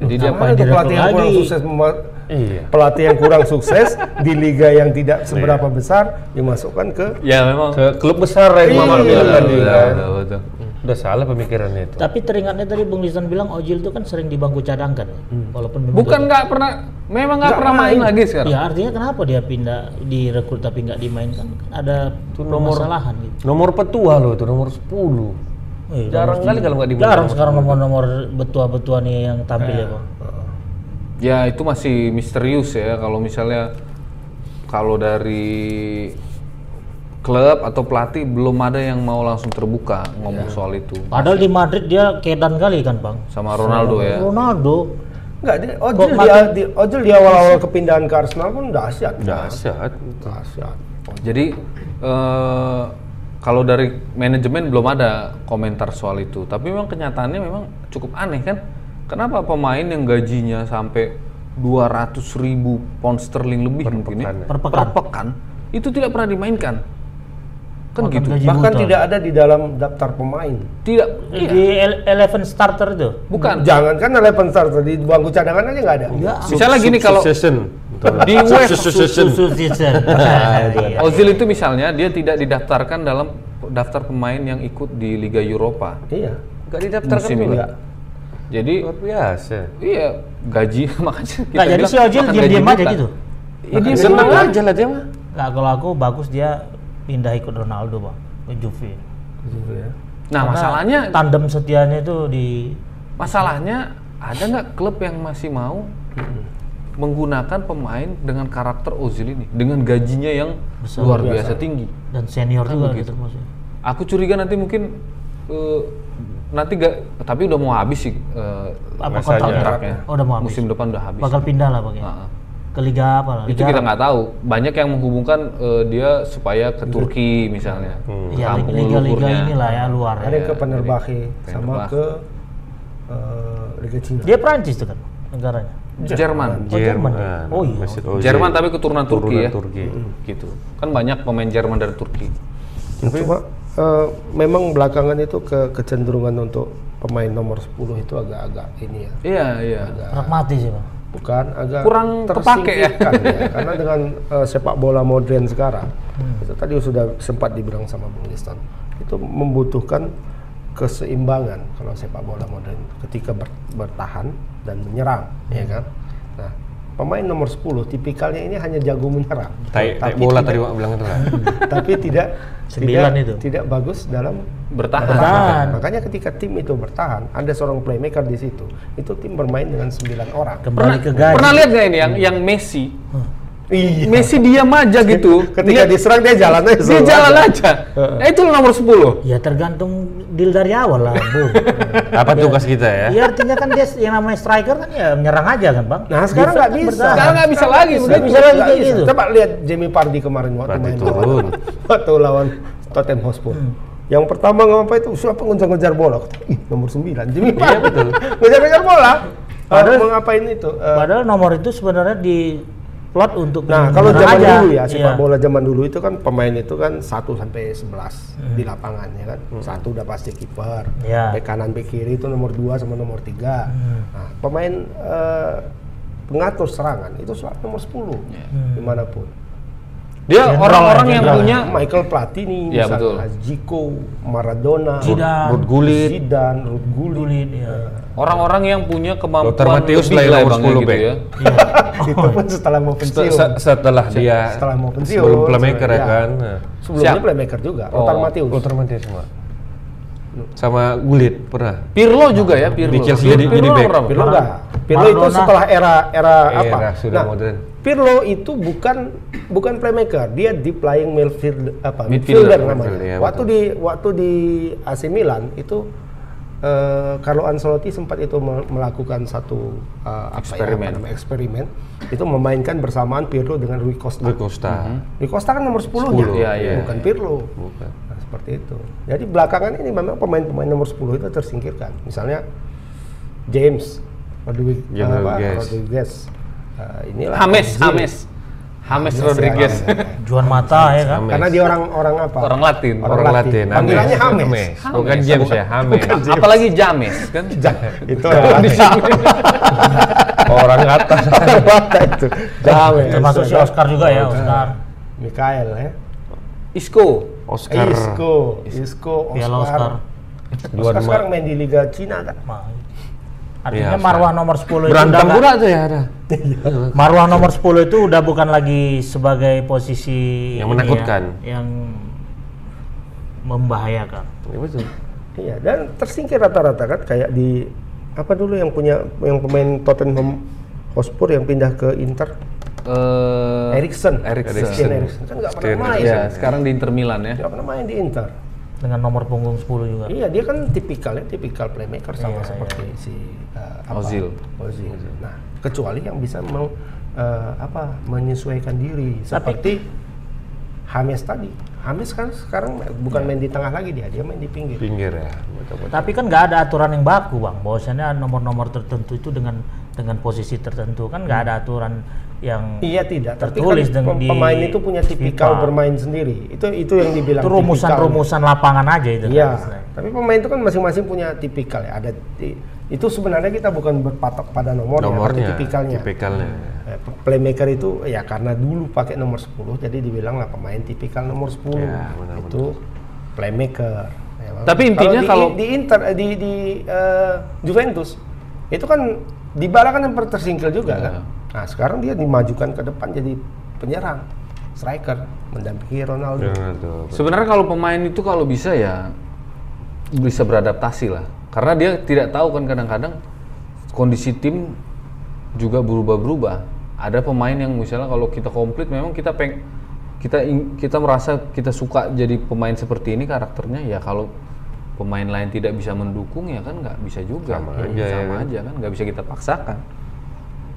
D: Jadi dia
A: Karena itu
C: direkrut
A: pelatih yang kurang
C: lagi?
A: sukses mema-
B: Iya.
A: pelatih yang kurang sukses di liga yang tidak seberapa besar dimasukkan ke
D: ya memang
B: Ke klub besar ya
A: Iya,
B: Mama bilang
A: betul,
B: tadi
A: betul,
B: kan.
D: betul, betul.
B: Udah salah pemikirannya itu.
C: Tapi teringatnya tadi Bung Lisan bilang Ojil itu kan sering di bangku cadang kan. Walaupun memang
D: Bukan nggak pernah, memang nggak pernah main, lagi sekarang.
C: Ya artinya kenapa dia pindah direkrut tapi nggak dimainkan? Kan ada
B: Itu nomor-
C: permasalahan gitu.
B: Nomor petua loh itu, nomor 10.
D: iya,
C: Eh,
B: Jarang kali kalau nggak dibilang.
C: Jarang sekarang nomor-nomor betua-betua nih yang tampil ya bang.
D: Eh, Ya itu masih misterius ya kalau misalnya kalau dari klub atau pelatih belum ada yang mau langsung terbuka ngomong soal itu
C: Padahal di Madrid dia kedan kali kan bang.
D: sama Ronaldo ya.
C: Ronaldo
A: enggak di Ojil dia di Ojil di awal-awal kepindahan ke Arsenal pun dahsyat.
D: Iya.
B: Dahsyat.
A: Dahsyat.
D: Oh, Jadi eh, kalau dari manajemen belum ada komentar soal itu, tapi memang kenyataannya memang cukup aneh kan? Kenapa pemain yang gajinya sampai 200 ribu pound sterling lebih mungkin ya,
C: per
D: per
C: pekan.
D: pekan itu tidak pernah dimainkan? Kan
C: Makan
D: gitu.
C: Oh, gaji
A: Bahkan
C: buta.
A: tidak ada di dalam daftar pemain.
D: Tidak, Iya.
C: Eh, di ele- eleven starter itu.
D: bukan.
A: Jangankan Eleven Stars di bangku cadangan aja nggak ada.
C: Iya.
D: Misalnya gini kalau
B: Succession.
D: di UEFA
C: Susu season. Iya.
D: Ozil Nah, itu misalnya dia tidak didaftarkan dalam daftar pemain yang ikut di Liga Eropa
A: Iya.
B: Enggak didaftarkan
D: musim ini.
B: juga. Oh,
D: Jadi
B: Luar biasa.
D: Iya, gaji makanya kita
C: Nggak, Nah, jadi
D: bilang
C: si Ojil
D: makan
C: diam-diam
D: gaji Nah,
C: aja
D: buta.
C: gitu.
B: Ya, dia senang aja lah dia mah.
C: Nggak, kalau aku bagus dia pindah ikut Ronaldo bang ke Juve.
A: Gitu ya.
D: Nah,
C: Karena
D: masalahnya
C: tandem setianya itu di
D: masalahnya ada nggak klub yang masih mau menggunakan pemain dengan karakter Ozil ini dengan gajinya yang
C: Besar.
D: luar biasa tinggi.
C: dan senior
D: Kan
C: juga gitu
D: begitu.
C: maksudnya.
D: Aku curiga nanti mungkin eh, nanti gak tapi udah mau habis sih eh,
C: Apa
D: masa
A: ya.
C: kontraknya?
D: kontraknya.
C: Oh, udah mau habis.
D: Musim depan udah habis.
C: Bakal pindah lah pakai.
D: Ah, ah.
C: Ke liga apa lah?
D: Itu
C: Liga
D: kita nggak tahu. Banyak yang menghubungkan eh, dia supaya ke Turki misalnya.
C: Iya,
D: Kampung
C: liga-liga
D: leluhurnya.
C: inilah ya luar.
A: Ada yang ke Penerbahce
D: jadi
A: sama
D: Fenerbahce.
A: ke eh, Liga Cina.
C: Dia Prancis tuh kan negaranya.
D: Jerman.
C: Oh, Jerman. Oh, iya.
F: Mesut Ozil.
D: Jerman tapi keturunan Turki
F: Turunan
D: ya.
F: Turki.
B: Hmm.
D: Gitu. Kan banyak pemain Jerman dari Turki.
A: Cuma eh, memang belakangan itu ke kecenderungan untuk pemain nomor 10 itu agak-agak ini ya.
D: Iya, iya.
C: Pragmatis ya, Bang.
A: Bukan agak
D: Kurang kepake ya.
A: tersingkirkan ya. Karena dengan eh, sepak bola modern sekarang itu tadi sudah sempat dibilang sama Bung Liston itu membutuhkan keseimbangan kalau sepak bola modern ketika ber- bertahan dan menyerang ya kan. Nah, pemain nomor 10 tipikalnya ini hanya jago menyerang.
B: Tai, tai
A: Tapi tidak-
B: bola tadi Wak bilang itu kan.
A: tapi tidak
C: Sembilan
A: tidak,
C: itu.
A: tidak bagus dalam
B: Iya. Ah.
D: Bertahan.
C: Bertahan.
A: makanya ketika tim itu bertahan ada seorang playmaker di situ itu tim bermain dengan sembilan orang
C: Kembali ke gaji.
D: Pernah lihat nggak ini yang yang Messi?
A: iya
D: Messi diam aja gitu.
A: ketika
D: dia,
A: diserang dia jalan aja
D: dia
A: selalu
D: jalan aja. Eh, itu nomor 10.
C: Ya tergantung deal dari awal lah, Bung.
B: Apa tugas kita ya?
C: Iya artinya kan dia yang namanya striker kan ya menyerang aja kan, Bang.
A: nah sekarang nggak bisa
C: bertahan.
D: Sekarang nggak bisa lagi.
C: Nggak bisa lagi kayak gitu.
A: coba lihat Jamie Vardy kemarin waktu
B: Berarti
A: main
B: turun.
A: waktu lawan Tottenham Hotspur yang pertama ngapa itu siapa ngejar-ngejar bola Ih, nomor 9 Jamie Vardy ngejar-ngejar bola Padahal
C: Padahal-
A: mau ngapain itu Eh,
C: Padahal nomor itu sebenarnya di plot untuk
A: Nah, kalau
C: menyerang
A: zaman
C: aja.
A: dulu ya, sepak
C: Iya.
A: bola zaman dulu itu kan pemain itu kan 1 sampai 11 di lapangan ya kan. Satu udah pasti kiper.
C: Hmm. Iya. Hmm.
A: Bek kanan, bek kiri itu nomor 2 sama nomor 3. Nah, pemain eh, pengatur serangan itu selalu nomor 10 dimanapun.
B: Iya,
D: Dia orang-orang yang
C: Hmm. general.
D: punya
A: Michael Platini,
D: Iya, betul.
A: misalnya Zico, Maradona,
C: Zidane.
B: Ruth Gullit.
A: Zidane, Ruud Gullit.
C: Sulit, ya.
D: orang-orang yang punya kemampuan
B: Dr. Mattheus
D: lebih
B: lah yang nomor
D: Bang, ya
B: 10 back.
A: Nah,
C: Oh.
A: itu pun setelah mau pensiun.
B: Se- Setelah dia
A: Setelah mau pensiun.
B: sebelum playmaker ya
A: Iya.
B: kan.
A: Sebelumnya
D: Siap.
A: playmaker juga,
D: Oh.
A: Lothar Matthäus.
B: Ultra Matthews semua. Sama Gulit pernah.
D: Pirlo juga ya, Pirlo.
B: Di Chelsea
D: Pirlo
B: jadi- jadi back.
D: orang berapa?
A: Pirlo enggak. Pirlo itu
C: Maradona.
A: setelah era era apa? Nah,
B: Era sudah modern.
A: Pirlo itu bukan bukan playmaker, dia deep lying midfield apa? Midfielder,
D: Midfielder,
A: namanya.
B: midfield, ya,
A: waktu di waktu di AC Milan itu eh, Carlo Ancelotti sempat itu me- melakukan satu eh, apa ya,
D: Eksperimen.
A: apa namanya, eksperimen itu memainkan bersamaan Pirlo dengan Rui Costa.
B: Rui Costa.
A: Rui Costa kan nomor 10 -nya,
B: 10,
D: iya, iya.
A: bukan Pirlo. Nah, seperti itu. Jadi belakangan ini memang pemain-pemain nomor 10 itu tersingkirkan. Misalnya James Rodriguez,
B: James
A: apa,
B: Rodriguez.
A: Rodriguez. Eh, inilah
D: Hames,
B: Iya.
A: Ozil.
D: Hames. Hames
A: Hames,
D: Rodriguez.
A: ya, Hames.
C: Juan mata ya kan.
A: Karena dia orang orang apa?
D: Orang Latin.
B: Orang Latin.
A: Panggilannya Hames.
B: Bukan
D: Hames.
B: James ya, Hames.
D: Apalagi James kan.
A: itu orang
B: Orang atas.
A: Orang Latin itu. James.
C: Termasuk si Oscar juga ya, Oscar.
A: Mikael ya. Eh,
D: Isco.
B: Oscar.
A: Isco, Isco,
C: Piala Oscar.
A: Oscar. Oscar sekarang main di Liga Cina kan?
C: Ma- Artinya
B: Iya,
C: marwah nomor 10 itu
B: Berantem
C: udah
B: pula tuh ya ada.
C: nggak- marwah nomor 10 itu udah bukan lagi sebagai
B: Yang
C: posisi ini ya,
B: menakutkan.
C: yang membahayakan.
B: Ya, betul.
A: Iya, dan tersingkir rata-rata kan kayak di apa dulu yang punya yang pemain Tottenham Hotspur yang pindah ke Inter,
D: Eh,
A: Erikson.
D: Eriksen.
A: Christian Eriksen kan nggak pernah
B: Christian
A: main.
D: Ya, sekarang di Inter Milan ya.
A: Nggak pernah main di Inter.
C: dengan nomor punggung 10 juga.
A: Iya, dia kan tipikalnya tipikal playmaker sama seperti si eh, apa?
D: Ozil.
A: Ozil. Nah, kecuali yang bisa mau eh, apa menyesuaikan diri seperti Hames tadi. Hames kan sekarang bukan main di tengah lagi dia, dia main di pinggir.
B: Pinggir
A: Eh,
B: ya. betul-betul.
C: Tapi kan nggak ada aturan yang baku, Bang. Bahwasannya nomor-nomor tertentu itu dengan dengan posisi tertentu kan nggak ada aturan yang
A: Iya tidak, tapi
C: Hmm. Tertulis
A: kan
C: dengan
A: pem-
C: di
A: pemain itu punya tipikal
C: FIFA.
A: bermain sendiri. Itu itu yang dibilang
C: itu
A: tipikal.
C: rumusan-rumusan lapangan aja itu. kan
B: gitu
A: Iya,
C: istilahnya.
A: tapi pemain itu kan masing-masing punya tipikal ya. Ada i- itu sebenarnya kita bukan berpatok pada nomornya,
B: Nomornya.
A: tapi tipikalnya.
B: Tipikalnya.
A: Eh, pe- Playmaker itu ya karena dulu pakai nomor 10 jadi dibilang lah pemain tipikal nomor 10.
B: Ya, benar-benar.
A: itu playmaker. Ya, Bang.
D: Tapi intinya
A: di-
D: kalau-
A: di, Inter eh, di di eh, Juventus itu kan Dybala kan yang tersingkil juga kan.
B: Ya.
A: Nah, sekarang dia dimajukan ke depan jadi penyerang, striker, mendampingi Ronaldo.
B: Ronaldo.
D: Sebenarnya kalau pemain itu kalau bisa ya bisa beradaptasi lah. Karena dia tidak tahu kan kadang-kadang kondisi tim juga berubah-berubah. Ada pemain yang misalnya kalau kita komplit memang kita peng kita ing- kita merasa kita suka jadi pemain seperti ini karakternya ya kalau pemain lain tidak bisa mendukung ya kan nggak bisa juga
B: Sama
D: Hmm,
B: aja ya
D: sama
B: kan?
D: aja kan nggak bisa kita paksakan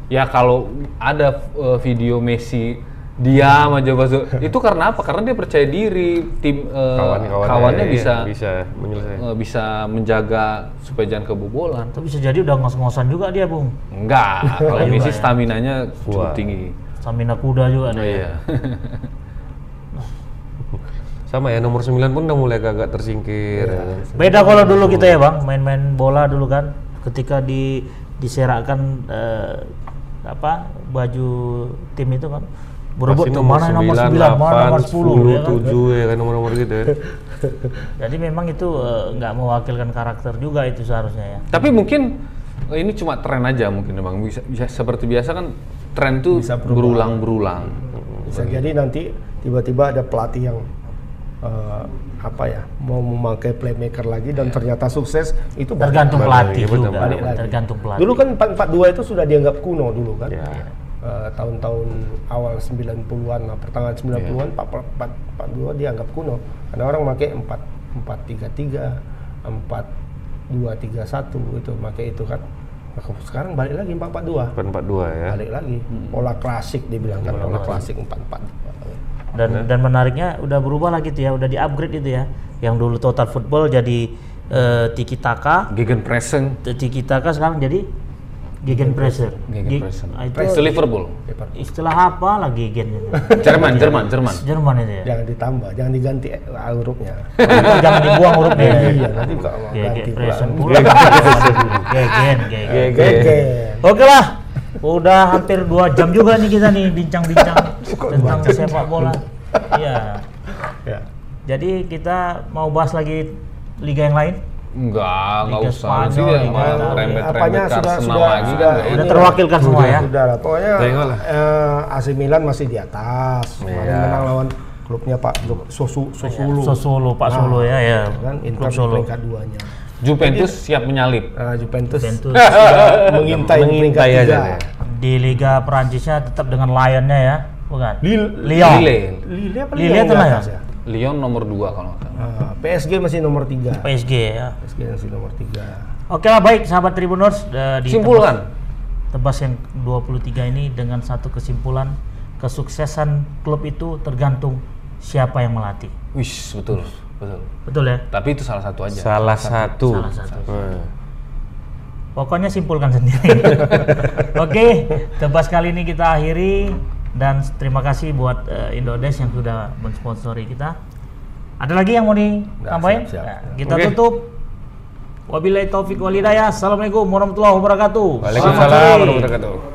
D: ya kalau ada eh, video Messi dia sama Jawa Basu- itu karena apa karena dia percaya diri tim eh,
B: Kawan-kawannya,
D: kawannya
B: iya,
D: bisa
B: bisa menyelesaikan.
D: eh, bisa menjaga supaya jangan kebobolan
C: Tapi bisa jadi udah ngos-ngosan juga dia, Bung.
D: enggak
C: Iya
D: kalau
C: juga
D: Messi
C: ya.
D: stamina-nya
B: Wah.
D: cukup tinggi
C: Samina kuda juga
B: Iya,
C: dia.
A: Iya.
B: Sama ya nomor 9 pun udah mulai agak tersingkir.
A: Iya.
B: ya kan?
C: Beda kalau dulu kita ya, Bang, main-main bola dulu kan ketika di diserakkan eh, apa baju tim itu kan berebut
B: Pasti
C: tuh mana yang nomor 9, mana nomor 10 ya
B: 10,
C: kan.
B: 7 ya kan nomor-nomor gitu ya.
C: Jadi memang itu eh, nggak mewakilkan karakter juga itu seharusnya ya.
D: tapi mungkin eh, ini cuma tren aja mungkin bang bisa, bisa- seperti biasa kan tren tuh
A: Bisa berubah.
D: berulang berulang
A: Bisa jadi nanti tiba-tiba ada pelatih yang eh, apa ya mau memakai playmaker lagi dan ternyata sukses itu balik-
C: Tergantung
B: Balik
C: pelatih
B: lagi, betul,
C: juga,
A: balik lagi.
C: tergantung pelatih.
A: Dulu kan 442 itu sudah dianggap kuno dulu kan.
B: Ya.
A: Eh, tahun-tahun awal 90-an lah, pertengahan 90-an 442 dianggap kuno. Karena orang pakai 4 433, 4231 itu pakai itu kan. Nah, Sekarang balik lagi 442.
B: Bukan 42 ya.
A: Balik lagi pola klasik dibilang kan Iya. Hmm. pola klasik 442.
C: dan dan menariknya udah berubah lah gitu ya udah di upgrade itu ya yang dulu total football jadi eh, tiki taka
D: gegen pressing
C: tiki taka sekarang jadi gegen pressure Ah,
D: gegen pressing
C: itu
D: Liverpool
C: istilah apa lah gegen itu
D: Jerman Jerman Jerman
C: Jerman itu ya
A: Jangan ditambah, jangan diganti eh, hurufnya.
C: Itu jangan dibuang hurufnya ya.
A: Iya, nanti juga mau
C: gegen
A: ganti
C: pressure
A: pula.
C: pula gegen gegen
A: Gegen.
C: oke lah udah hampir dua jam juga nih kita nih bincang-bincang tentang sepak bola iya
A: Ya.
C: Jadi kita mau bahas lagi liga yang lain.
D: Enggak, enggak
C: Liga
D: usah.
C: Spanyol,
D: Nanti dia
C: Liga
D: malah
C: Italia.
D: rembet-rembet
A: Apanya sudah
D: Arsenal
A: sudah sudah,
D: lagi kan nggak
C: Udah
A: ini
D: enak.
C: terwakilkan semua ya.
A: Sudah lah, pokoknya
B: Tengok lah.
A: eh, AC Milan masih di atas. Kemarin
B: Iya.
A: menang lawan klubnya Pak Jo- Sosu Sosulu.
C: Sosolo, Pak Solo ya, ya.
A: Kan Inter
C: Iya, Klub
A: di
C: Solo.
A: peringkat duanya.
D: Juventus siap menyalip.
A: Eh, Juventus,
C: Juventus. Iya.
A: sudah mengintai,
B: Mengintai
A: peringkat
B: aja
A: tiga.
B: dia.
C: Di Liga Perancisnya tetap dengan Lionnya ya, bukan?
A: Lille-
C: Lyon.
D: Lille.
A: Lille apa
C: Lille
A: Lille yang
C: itu
A: di
C: lah ya?
A: atas ya?
D: Lyon nomor 2 kalau nggak
A: Eh,
D: salah.
A: PSG masih nomor 3.
C: PSG ya.
A: PSG masih nomor 3.
C: Oke lah baik sahabat Tribuners eh, di
D: Simpulkan.
C: tebas yang 23 ini dengan satu kesimpulan kesuksesan klub itu tergantung siapa yang melatih.
D: Wih, betul. Betul.
C: Betul ya?
D: Tapi itu salah satu aja.
B: Salah satu.
C: Salah satu.
B: Hmm.
C: Pokoknya simpulkan sendiri. Oke, tebas kali ini kita akhiri dan terima kasih buat eh, Indodesk yang sudah mensponsori kita. Ada lagi yang mau ditambahin?
A: siap, siap.
C: Nah, kita
B: Oke.
C: tutup. Wabillahi taufik walhidayah. Assalamualaikum warahmatullahi wabarakatuh.
B: Waalaikumsalam
C: Selamat sore.
B: warahmatullahi wabarakatuh.